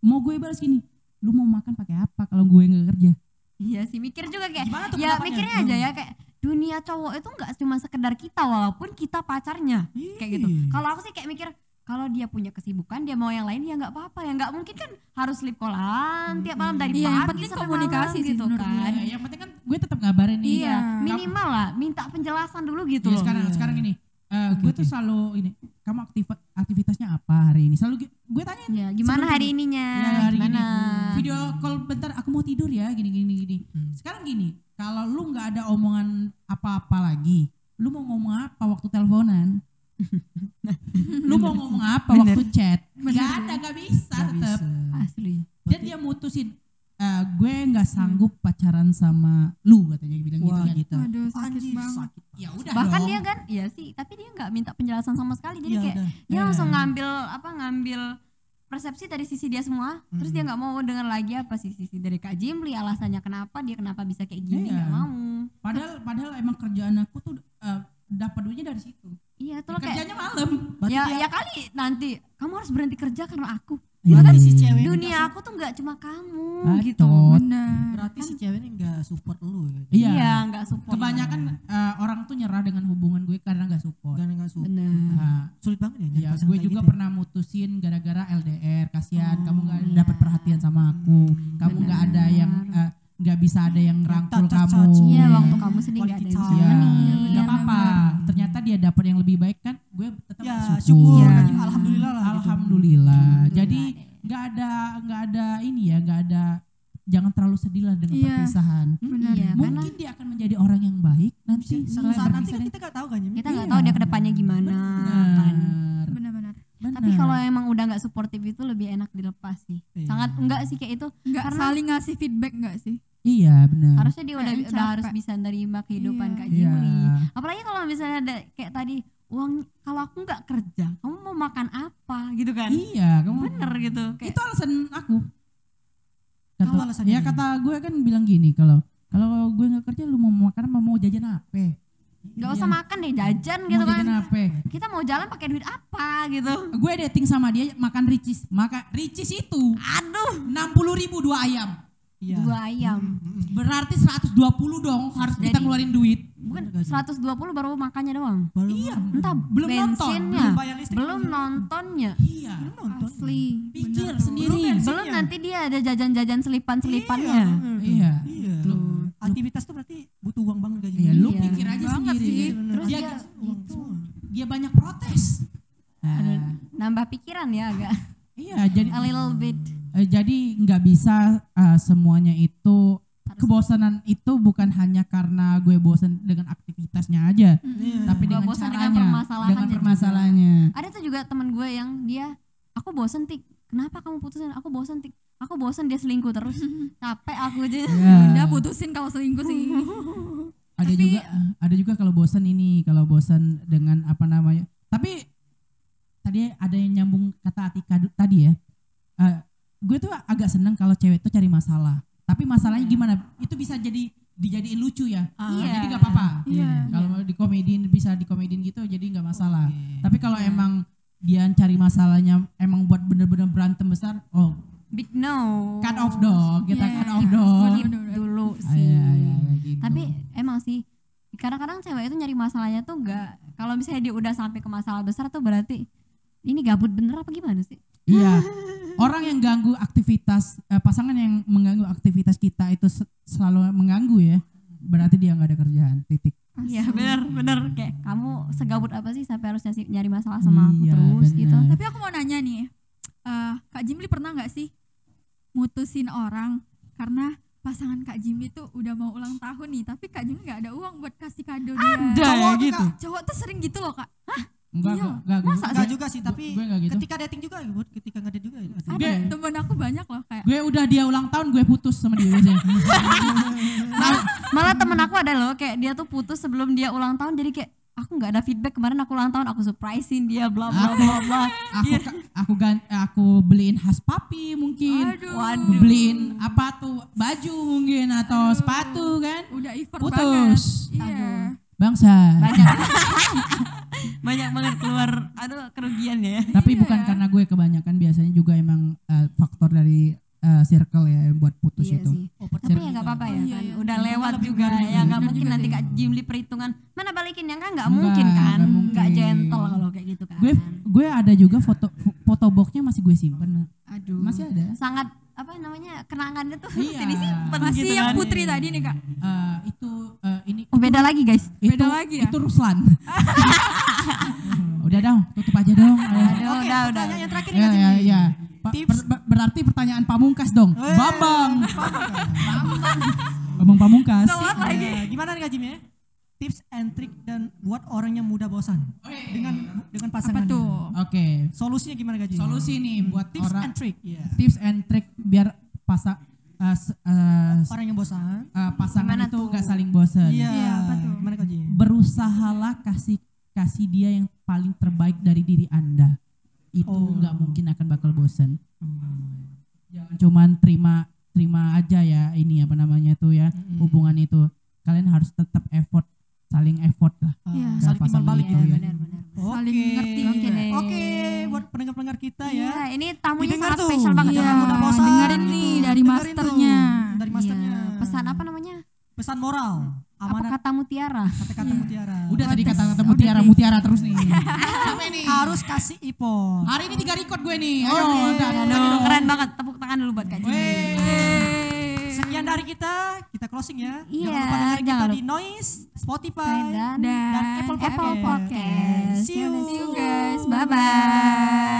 Speaker 4: Mau gue balas gini, lu mau makan pakai apa kalau gue nggak kerja?
Speaker 1: iya sih mikir juga kayak
Speaker 2: Gimana tuh
Speaker 1: ya
Speaker 2: pendapatnya?
Speaker 1: mikirnya aja ya kayak dunia cowok itu nggak cuma sekedar kita walaupun kita pacarnya kayak gitu
Speaker 2: Iya.
Speaker 1: kalau aku sih kayak mikir kalau dia punya kesibukan dia mau yang lain ya nggak apa-apa ya nggak mungkin kan harus lip kolan tiap malam dari
Speaker 3: Iya, yang
Speaker 1: pagi
Speaker 3: penting
Speaker 1: sampai
Speaker 3: komunikasi
Speaker 1: malam
Speaker 3: sih
Speaker 1: gitu
Speaker 3: menurut
Speaker 1: kan
Speaker 4: Iya, yang penting kan gue tetap ngabarin nih.
Speaker 1: iya
Speaker 4: Kamu-
Speaker 1: minimal lah minta penjelasan dulu
Speaker 4: Iya,
Speaker 1: gitu loh
Speaker 4: sekarang
Speaker 2: Iya.
Speaker 4: sekarang ini eh, gue tuh selalu ini kamu aktif aktivitasnya apa hari ini selalu gi- gue tanya
Speaker 1: ya gimana
Speaker 4: Sebelum-
Speaker 1: hari ininya
Speaker 3: Iya,
Speaker 4: ya, hari
Speaker 1: gimana
Speaker 2: Ah.
Speaker 4: gini video call bentar aku mau tidur ya gini gini gini
Speaker 2: Hmm.
Speaker 4: sekarang gini kalau lu nggak ada omongan apa-apa lagi lu mau ngomong apa waktu
Speaker 2: [LAUGHS]
Speaker 4: teleponan lu mau ngomong apa
Speaker 2: Bener.
Speaker 4: waktu chat nggak ada nggak bisa
Speaker 2: Nggak
Speaker 4: tetap
Speaker 2: bisa.
Speaker 1: asli
Speaker 4: dan dia mutusin "Eh, gue nggak sanggup
Speaker 2: Hmm.
Speaker 4: pacaran sama lu katanya dia bilang
Speaker 2: Wah,
Speaker 4: gitu kan
Speaker 2: gitu.
Speaker 3: Aduh sakit
Speaker 2: Anjir,
Speaker 3: banget.
Speaker 2: sakit.
Speaker 4: ya udah
Speaker 1: bahkan
Speaker 4: dong.
Speaker 1: dia kan iya sih tapi dia nggak minta penjelasan sama sekali jadi
Speaker 2: Iya,
Speaker 1: kayak
Speaker 2: udah.
Speaker 1: dia
Speaker 4: Iya.
Speaker 1: langsung ngambil apa ngambil persepsi dari sisi dia semua terus dia nggak mau dengar lagi apa sih sisi dari Kak Jimli alasannya kenapa dia kenapa bisa kayak gini
Speaker 4: Iya.
Speaker 1: nggak mau
Speaker 4: padahal padahal emang kerjaan aku tuh eh, dapat duitnya dari situ
Speaker 1: iya tuh loh kayak
Speaker 4: kerjanya malam
Speaker 2: Berarti
Speaker 1: ya
Speaker 2: dia-
Speaker 1: ya kali nanti kamu harus berhenti kerja karena aku
Speaker 2: berarti si
Speaker 4: Iya.
Speaker 2: cewek
Speaker 1: ya kan dunia aku tuh nggak cuma kamu
Speaker 4: Bacot.
Speaker 1: gitu
Speaker 3: Benar.
Speaker 2: berarti si cewek ini nggak support lu ya
Speaker 4: iya
Speaker 1: kan iya nggak support
Speaker 4: kebanyakan eh, orang tuh nyerah dengan hubungan gue karena nggak support
Speaker 2: nggak nggak support
Speaker 1: benar
Speaker 4: Nah,
Speaker 2: sulit banget ya
Speaker 1: Iya,
Speaker 2: nyari
Speaker 4: ya
Speaker 2: pasangan
Speaker 4: gue
Speaker 2: kayak
Speaker 4: juga
Speaker 2: gitu ya.
Speaker 4: pernah mutusin gara-gara LDR kasihan kamu nggak
Speaker 1: iya.
Speaker 4: dapat perhatian sama aku kamu nggak ada
Speaker 1: benar.
Speaker 4: yang eh, nggak bisa ada yang
Speaker 2: Iya,
Speaker 4: rangkul
Speaker 2: Touch, touch,
Speaker 4: kamu
Speaker 2: touch.
Speaker 1: iya
Speaker 2: Hmm.
Speaker 1: waktu kamu sedih nggak ada yang
Speaker 2: Quality
Speaker 4: Iya,
Speaker 2: time.
Speaker 1: nemenin.
Speaker 4: nggak apa-apa ternyata dia dapat yang lebih baik kan gue tetap
Speaker 2: ya
Speaker 4: bersyukur.
Speaker 2: syukur
Speaker 1: Iya.
Speaker 2: nanti alhamdulillah lah gitu.
Speaker 4: alhamdulillah jadi
Speaker 1: deh.
Speaker 4: nggak ada nggak ada ini ya nggak ada jangan terlalu sedih lah dengan
Speaker 3: Iya.
Speaker 4: perpisahan
Speaker 3: Benar.
Speaker 1: iya karena
Speaker 4: mungkin dia akan menjadi orang yang baik nanti
Speaker 2: suatu
Speaker 4: setelah
Speaker 2: saat nanti kan
Speaker 4: berpisah dari-
Speaker 2: kita nggak tahu kan Jim?
Speaker 1: Iya, kita nggak
Speaker 4: Iya.
Speaker 1: tahu dia kedepannya gimana kan
Speaker 4: Benar,
Speaker 3: Benar-benar.
Speaker 1: tapi
Speaker 4: benar.
Speaker 1: kalau emang udah nggak supportive itu lebih enak dilepas sih
Speaker 2: Iya.
Speaker 1: sangat enggak sih kayak itu
Speaker 3: Enggak
Speaker 1: Karena-
Speaker 3: saling ngasih feedback enggak sih?
Speaker 4: iya benar
Speaker 1: harusnya dia udah,
Speaker 3: Kayaknya
Speaker 1: udah harus
Speaker 3: capek.
Speaker 1: bisa nerima kehidupan
Speaker 3: Iya.
Speaker 1: Kak
Speaker 4: Iya.
Speaker 1: Jimli apalagi kalau misalnya ada kayak tadi uang kalau aku nggak kerja kamu mau makan apa gitu kan
Speaker 4: Iya, kamu
Speaker 1: bener gitu kayak
Speaker 4: Itu alasan aku. Kata,
Speaker 2: Kamu alasannya
Speaker 4: ya
Speaker 2: gini.
Speaker 4: kata gue kan bilang gini kalau kalau gue nggak kerja lu mau makan apa mau jajan apa?
Speaker 1: nggak usah makan deh jajan gitu
Speaker 4: Mau
Speaker 1: kan
Speaker 4: jajan apa?
Speaker 1: kita mau jalan pakai duit apa gitu
Speaker 4: Gue dating sama dia makan ricis, maka ricis itu
Speaker 1: aduh
Speaker 4: 60 ribu dua ayam.
Speaker 2: Iya. hmm.
Speaker 1: dua ayam
Speaker 4: Berarti 120 dong harus kita
Speaker 1: Jadi-
Speaker 4: ngeluarin duit.
Speaker 1: bukan 120 baru makannya doang
Speaker 2: Baru
Speaker 4: Iya.
Speaker 1: entah
Speaker 4: Belum nonton,
Speaker 1: bensinnya
Speaker 2: belum bayar listrik.
Speaker 1: belum nontonnya
Speaker 4: Iya.
Speaker 2: Lu nonton
Speaker 3: Asli.
Speaker 4: Pikir
Speaker 3: benar tuh.
Speaker 4: sendiri.
Speaker 1: belum nanti dia ada jajan-jajan gitu.
Speaker 2: Iya,
Speaker 1: selipan-selipannya
Speaker 2: bener tuh.
Speaker 4: Iya.
Speaker 2: Iya.
Speaker 4: Tuh.
Speaker 2: Aktivitas tuh berarti butuh uang banget gaji.
Speaker 4: Iya, lu
Speaker 1: Iya.
Speaker 4: pikir aja
Speaker 3: Banget
Speaker 4: sendiri.
Speaker 3: sih.
Speaker 4: Terus dia, gitu.
Speaker 1: dia-
Speaker 2: uang semua.
Speaker 4: dia banyak protes.
Speaker 1: Aduh,
Speaker 4: Nah,
Speaker 1: nambah pikiran ya agak
Speaker 4: iya, jadi
Speaker 1: a little bit
Speaker 4: Eh, jadi nggak bisa eh, semuanya itu
Speaker 1: Harus-
Speaker 4: kebosanan itu bukan hanya karena gue bosan dengan aktivitasnya aja,
Speaker 2: Iya.
Speaker 4: tapi
Speaker 1: Nggak
Speaker 4: dengan
Speaker 1: bosan
Speaker 4: caranya,
Speaker 1: dengan permasalahannya
Speaker 4: dengan
Speaker 1: juga.
Speaker 4: permasalahannya.
Speaker 1: ada tuh juga teman gue yang dia aku bosen tik kenapa kamu putusin aku bosen tik aku bosen dia selingkuh
Speaker 4: [LAUGHS]
Speaker 1: terus capek aku aja
Speaker 4: Ya.
Speaker 3: Udah putusin kalau selingkuh [LAUGHS] sih.
Speaker 4: Ada
Speaker 3: Tapi- eh,
Speaker 4: juga ada juga kalau bosan ini, kalau bosan dengan apa namanya. Tapi tadi ada yang nyambung kata Atika du- tadi ya. Eh, gue tuh agak seneng kalau cewek tuh cari masalah. Tapi masalahnya
Speaker 3: Iya.
Speaker 4: gimana? Itu bisa jadi dijadiin lucu ya.
Speaker 1: Iya.
Speaker 4: Jadi nggak apa-apa.
Speaker 3: Ah, Iya.
Speaker 4: Kalau di komedin bisa di komedin gitu jadi nggak masalah. Tapi kalau
Speaker 3: Iya.
Speaker 4: emang dia cari masalahnya emang buat bener-bener berantem besar, oh
Speaker 1: big no
Speaker 4: cut off dong, kita
Speaker 3: Iya,
Speaker 4: cut
Speaker 3: iya,
Speaker 4: off
Speaker 3: iya.
Speaker 4: dong.
Speaker 3: Bener, bener, bener.
Speaker 1: dulu
Speaker 4: Ah,
Speaker 1: sih
Speaker 4: iya, iya, iya, gitu.
Speaker 1: tapi emang sih kadang-kadang cewek itu nyari masalahnya tuh enggak kalau misalnya dia udah sampai ke masalah besar tuh berarti ini gabut bener apa gimana sih
Speaker 4: iya. Orang yang ganggu aktivitas eh, pasangan yang mengganggu aktivitas kita itu se- selalu mengganggu ya. Berarti dia nggak ada kerjaan. Titik.
Speaker 1: Iya bener bener kayak kamu segabut apa sih sampai harus nyasi- nyari masalah sama aku
Speaker 4: Iya,
Speaker 1: terus gitu
Speaker 4: bener.
Speaker 3: Tapi aku mau nanya nih. eh, Kak Jimli pernah nggak sih mutusin orang karena pasangan Kak Jimli tuh udah mau ulang tahun nih, tapi Kak Jimli nggak ada uang buat kasih kado dia.
Speaker 2: Ada ya
Speaker 3: Cowok tuh,
Speaker 2: gitu?
Speaker 3: Kak, Cowok tuh sering gitu loh, Kak.
Speaker 4: Enggak,
Speaker 3: Iya.
Speaker 4: enggak, enggak.
Speaker 1: Masa
Speaker 2: Enggak juga sih, tapi
Speaker 4: gue nggak gitu.
Speaker 2: ketika dating juga, Bud. ketika nggak dating juga. ya.
Speaker 4: Ada.
Speaker 3: Ada temen aku banyak loh kayak
Speaker 4: Gue udah dia ulang tahun gue putus sama dia biasanya.
Speaker 1: malah, malah temen aku ada loh kayak dia tuh putus sebelum dia ulang tahun jadi kayak aku nggak ada feedback kemarin aku ulang tahun aku surprisein dia bla bla
Speaker 4: [LAUGHS]
Speaker 1: bla bla
Speaker 4: aku ka- aku gan, eh, aku beliin khas papi mungkin
Speaker 3: Aduh.
Speaker 4: Waduh. beliin apa tuh baju mungkin atau sepatu kan
Speaker 3: udah effort banget.
Speaker 4: putus
Speaker 3: Iya.
Speaker 4: bangsa
Speaker 1: banyak banyak banget keluar aduh kerugian ya
Speaker 4: tapi bukan karena gue kebanyakan biasanya juga emang eh, faktor dari eh, circle ya yang buat putus
Speaker 1: iya
Speaker 4: itu gitu.
Speaker 1: sih tapi
Speaker 4: Circle.
Speaker 1: ya nggak apa-apa ya
Speaker 3: Oh, iya,
Speaker 1: kan
Speaker 3: iya.
Speaker 1: udah
Speaker 2: Yang
Speaker 1: lewat
Speaker 2: lebih
Speaker 1: juga
Speaker 2: baru
Speaker 1: ya
Speaker 2: juga.
Speaker 1: nggak
Speaker 2: Bener
Speaker 1: mungkin
Speaker 2: juga
Speaker 1: nanti
Speaker 2: sih.
Speaker 1: kak Jimli perhitungan mana balikin ya kan nggak
Speaker 4: Nggak,
Speaker 1: mungkin kan
Speaker 4: nggak mungkin.
Speaker 1: nggak gentle kalau kayak gitu kan
Speaker 4: gue gue ada juga foto foto boxnya masih gue simpen
Speaker 3: Aduh.
Speaker 4: masih ada
Speaker 1: sangat apa namanya kenangannya tuh [LAUGHS]
Speaker 4: Iya.
Speaker 1: masih disimpan
Speaker 3: Masih
Speaker 1: gitu
Speaker 3: yang
Speaker 1: kan.
Speaker 3: putri tadi nih kak.
Speaker 4: Eh, itu eh, ini
Speaker 1: Oh, beda lagi guys
Speaker 3: Beda
Speaker 4: itu,
Speaker 3: lagi ya?
Speaker 4: itu Ruslan udah dong tutup aja dong
Speaker 1: Aduh, udah Iya, udah
Speaker 2: Pertanyaan yang terakhir nih,
Speaker 4: ya
Speaker 2: Kak
Speaker 4: ya
Speaker 2: Jimmy.
Speaker 4: ya Pa-
Speaker 2: Tips.
Speaker 4: per- ber- berarti pertanyaan pamungkas dong
Speaker 2: Eh,
Speaker 4: babang
Speaker 2: Pamungkas.
Speaker 4: Abang pamungkas
Speaker 1: Telat lagi.
Speaker 2: Eh, gimana nih Kak Jim ya? Tips and trick dan buat orang yang mudah bosan dengan dengan
Speaker 3: Apa
Speaker 2: pasangan.
Speaker 3: tuh?
Speaker 4: oke
Speaker 2: Solusinya gimana Kak Jim?
Speaker 4: solusi nih buat
Speaker 2: tips
Speaker 4: orang
Speaker 2: and trick. Iya.
Speaker 4: tips and trick biar pasa eh, s- eh, s-
Speaker 2: Orang yang bosan.
Speaker 4: eh, pasangan
Speaker 1: Gimana
Speaker 4: itu
Speaker 1: tuh?
Speaker 4: nggak saling bosan
Speaker 2: Iya.
Speaker 3: Iya, apa tuh?
Speaker 2: Gimana Kak Jim?
Speaker 4: berusahalah kasih kasih dia yang paling terbaik dari diri anda itu
Speaker 2: Oh.
Speaker 4: nggak mungkin akan bakal bosan Hmm. jangan cuman terima terima aja ya ini apa namanya tuh ya hubungan itu kalian harus tetap effort saling effort lah
Speaker 3: Iya.
Speaker 2: Ah, Saling timbal
Speaker 4: Pasangan
Speaker 2: balik
Speaker 4: itu
Speaker 2: gitu ya.
Speaker 4: ya.
Speaker 1: benar-benar
Speaker 3: Saling ngerti.
Speaker 2: Oke.
Speaker 1: deh.
Speaker 2: Oke, buat pendengar-pendengar kita
Speaker 1: Iya,
Speaker 2: ya.
Speaker 1: ini tamunya
Speaker 2: Didengar
Speaker 1: sangat
Speaker 2: tuh.
Speaker 1: spesial banget
Speaker 3: Iya,
Speaker 1: orang mudah bosan.
Speaker 3: dengerin nih dari
Speaker 2: gitu. Dengerin
Speaker 3: masternya.
Speaker 2: tuh, Dari masternya.
Speaker 1: Iya, pesan apa namanya?
Speaker 2: Pesan moral,
Speaker 1: Apa
Speaker 2: amanat
Speaker 1: kata mutiara?
Speaker 2: kata-kata mutiara.
Speaker 4: Hmm. udah tadi
Speaker 3: Protes.
Speaker 4: kata kata
Speaker 3: Udah
Speaker 4: mutiara
Speaker 3: deh.
Speaker 4: mutiara terus nih sampai nih
Speaker 2: harus kasih ipot.
Speaker 4: hari ini tiga record gue nih ayo
Speaker 1: Iya,
Speaker 4: udah lagi
Speaker 1: Aduh,
Speaker 4: dong.
Speaker 1: keren banget. Tepuk tangan dulu buat Kak Jimmy.
Speaker 4: Wey.
Speaker 2: Sekian dari kita, kita closing ya.
Speaker 1: Iya,
Speaker 2: jangan lupa dengerin kita
Speaker 1: jangan
Speaker 2: di Noise, Spotify,
Speaker 1: Dan,
Speaker 2: dan Apple
Speaker 1: Apple
Speaker 2: Podcast.
Speaker 1: Podcast.
Speaker 2: See you.
Speaker 1: guys. Bye-bye.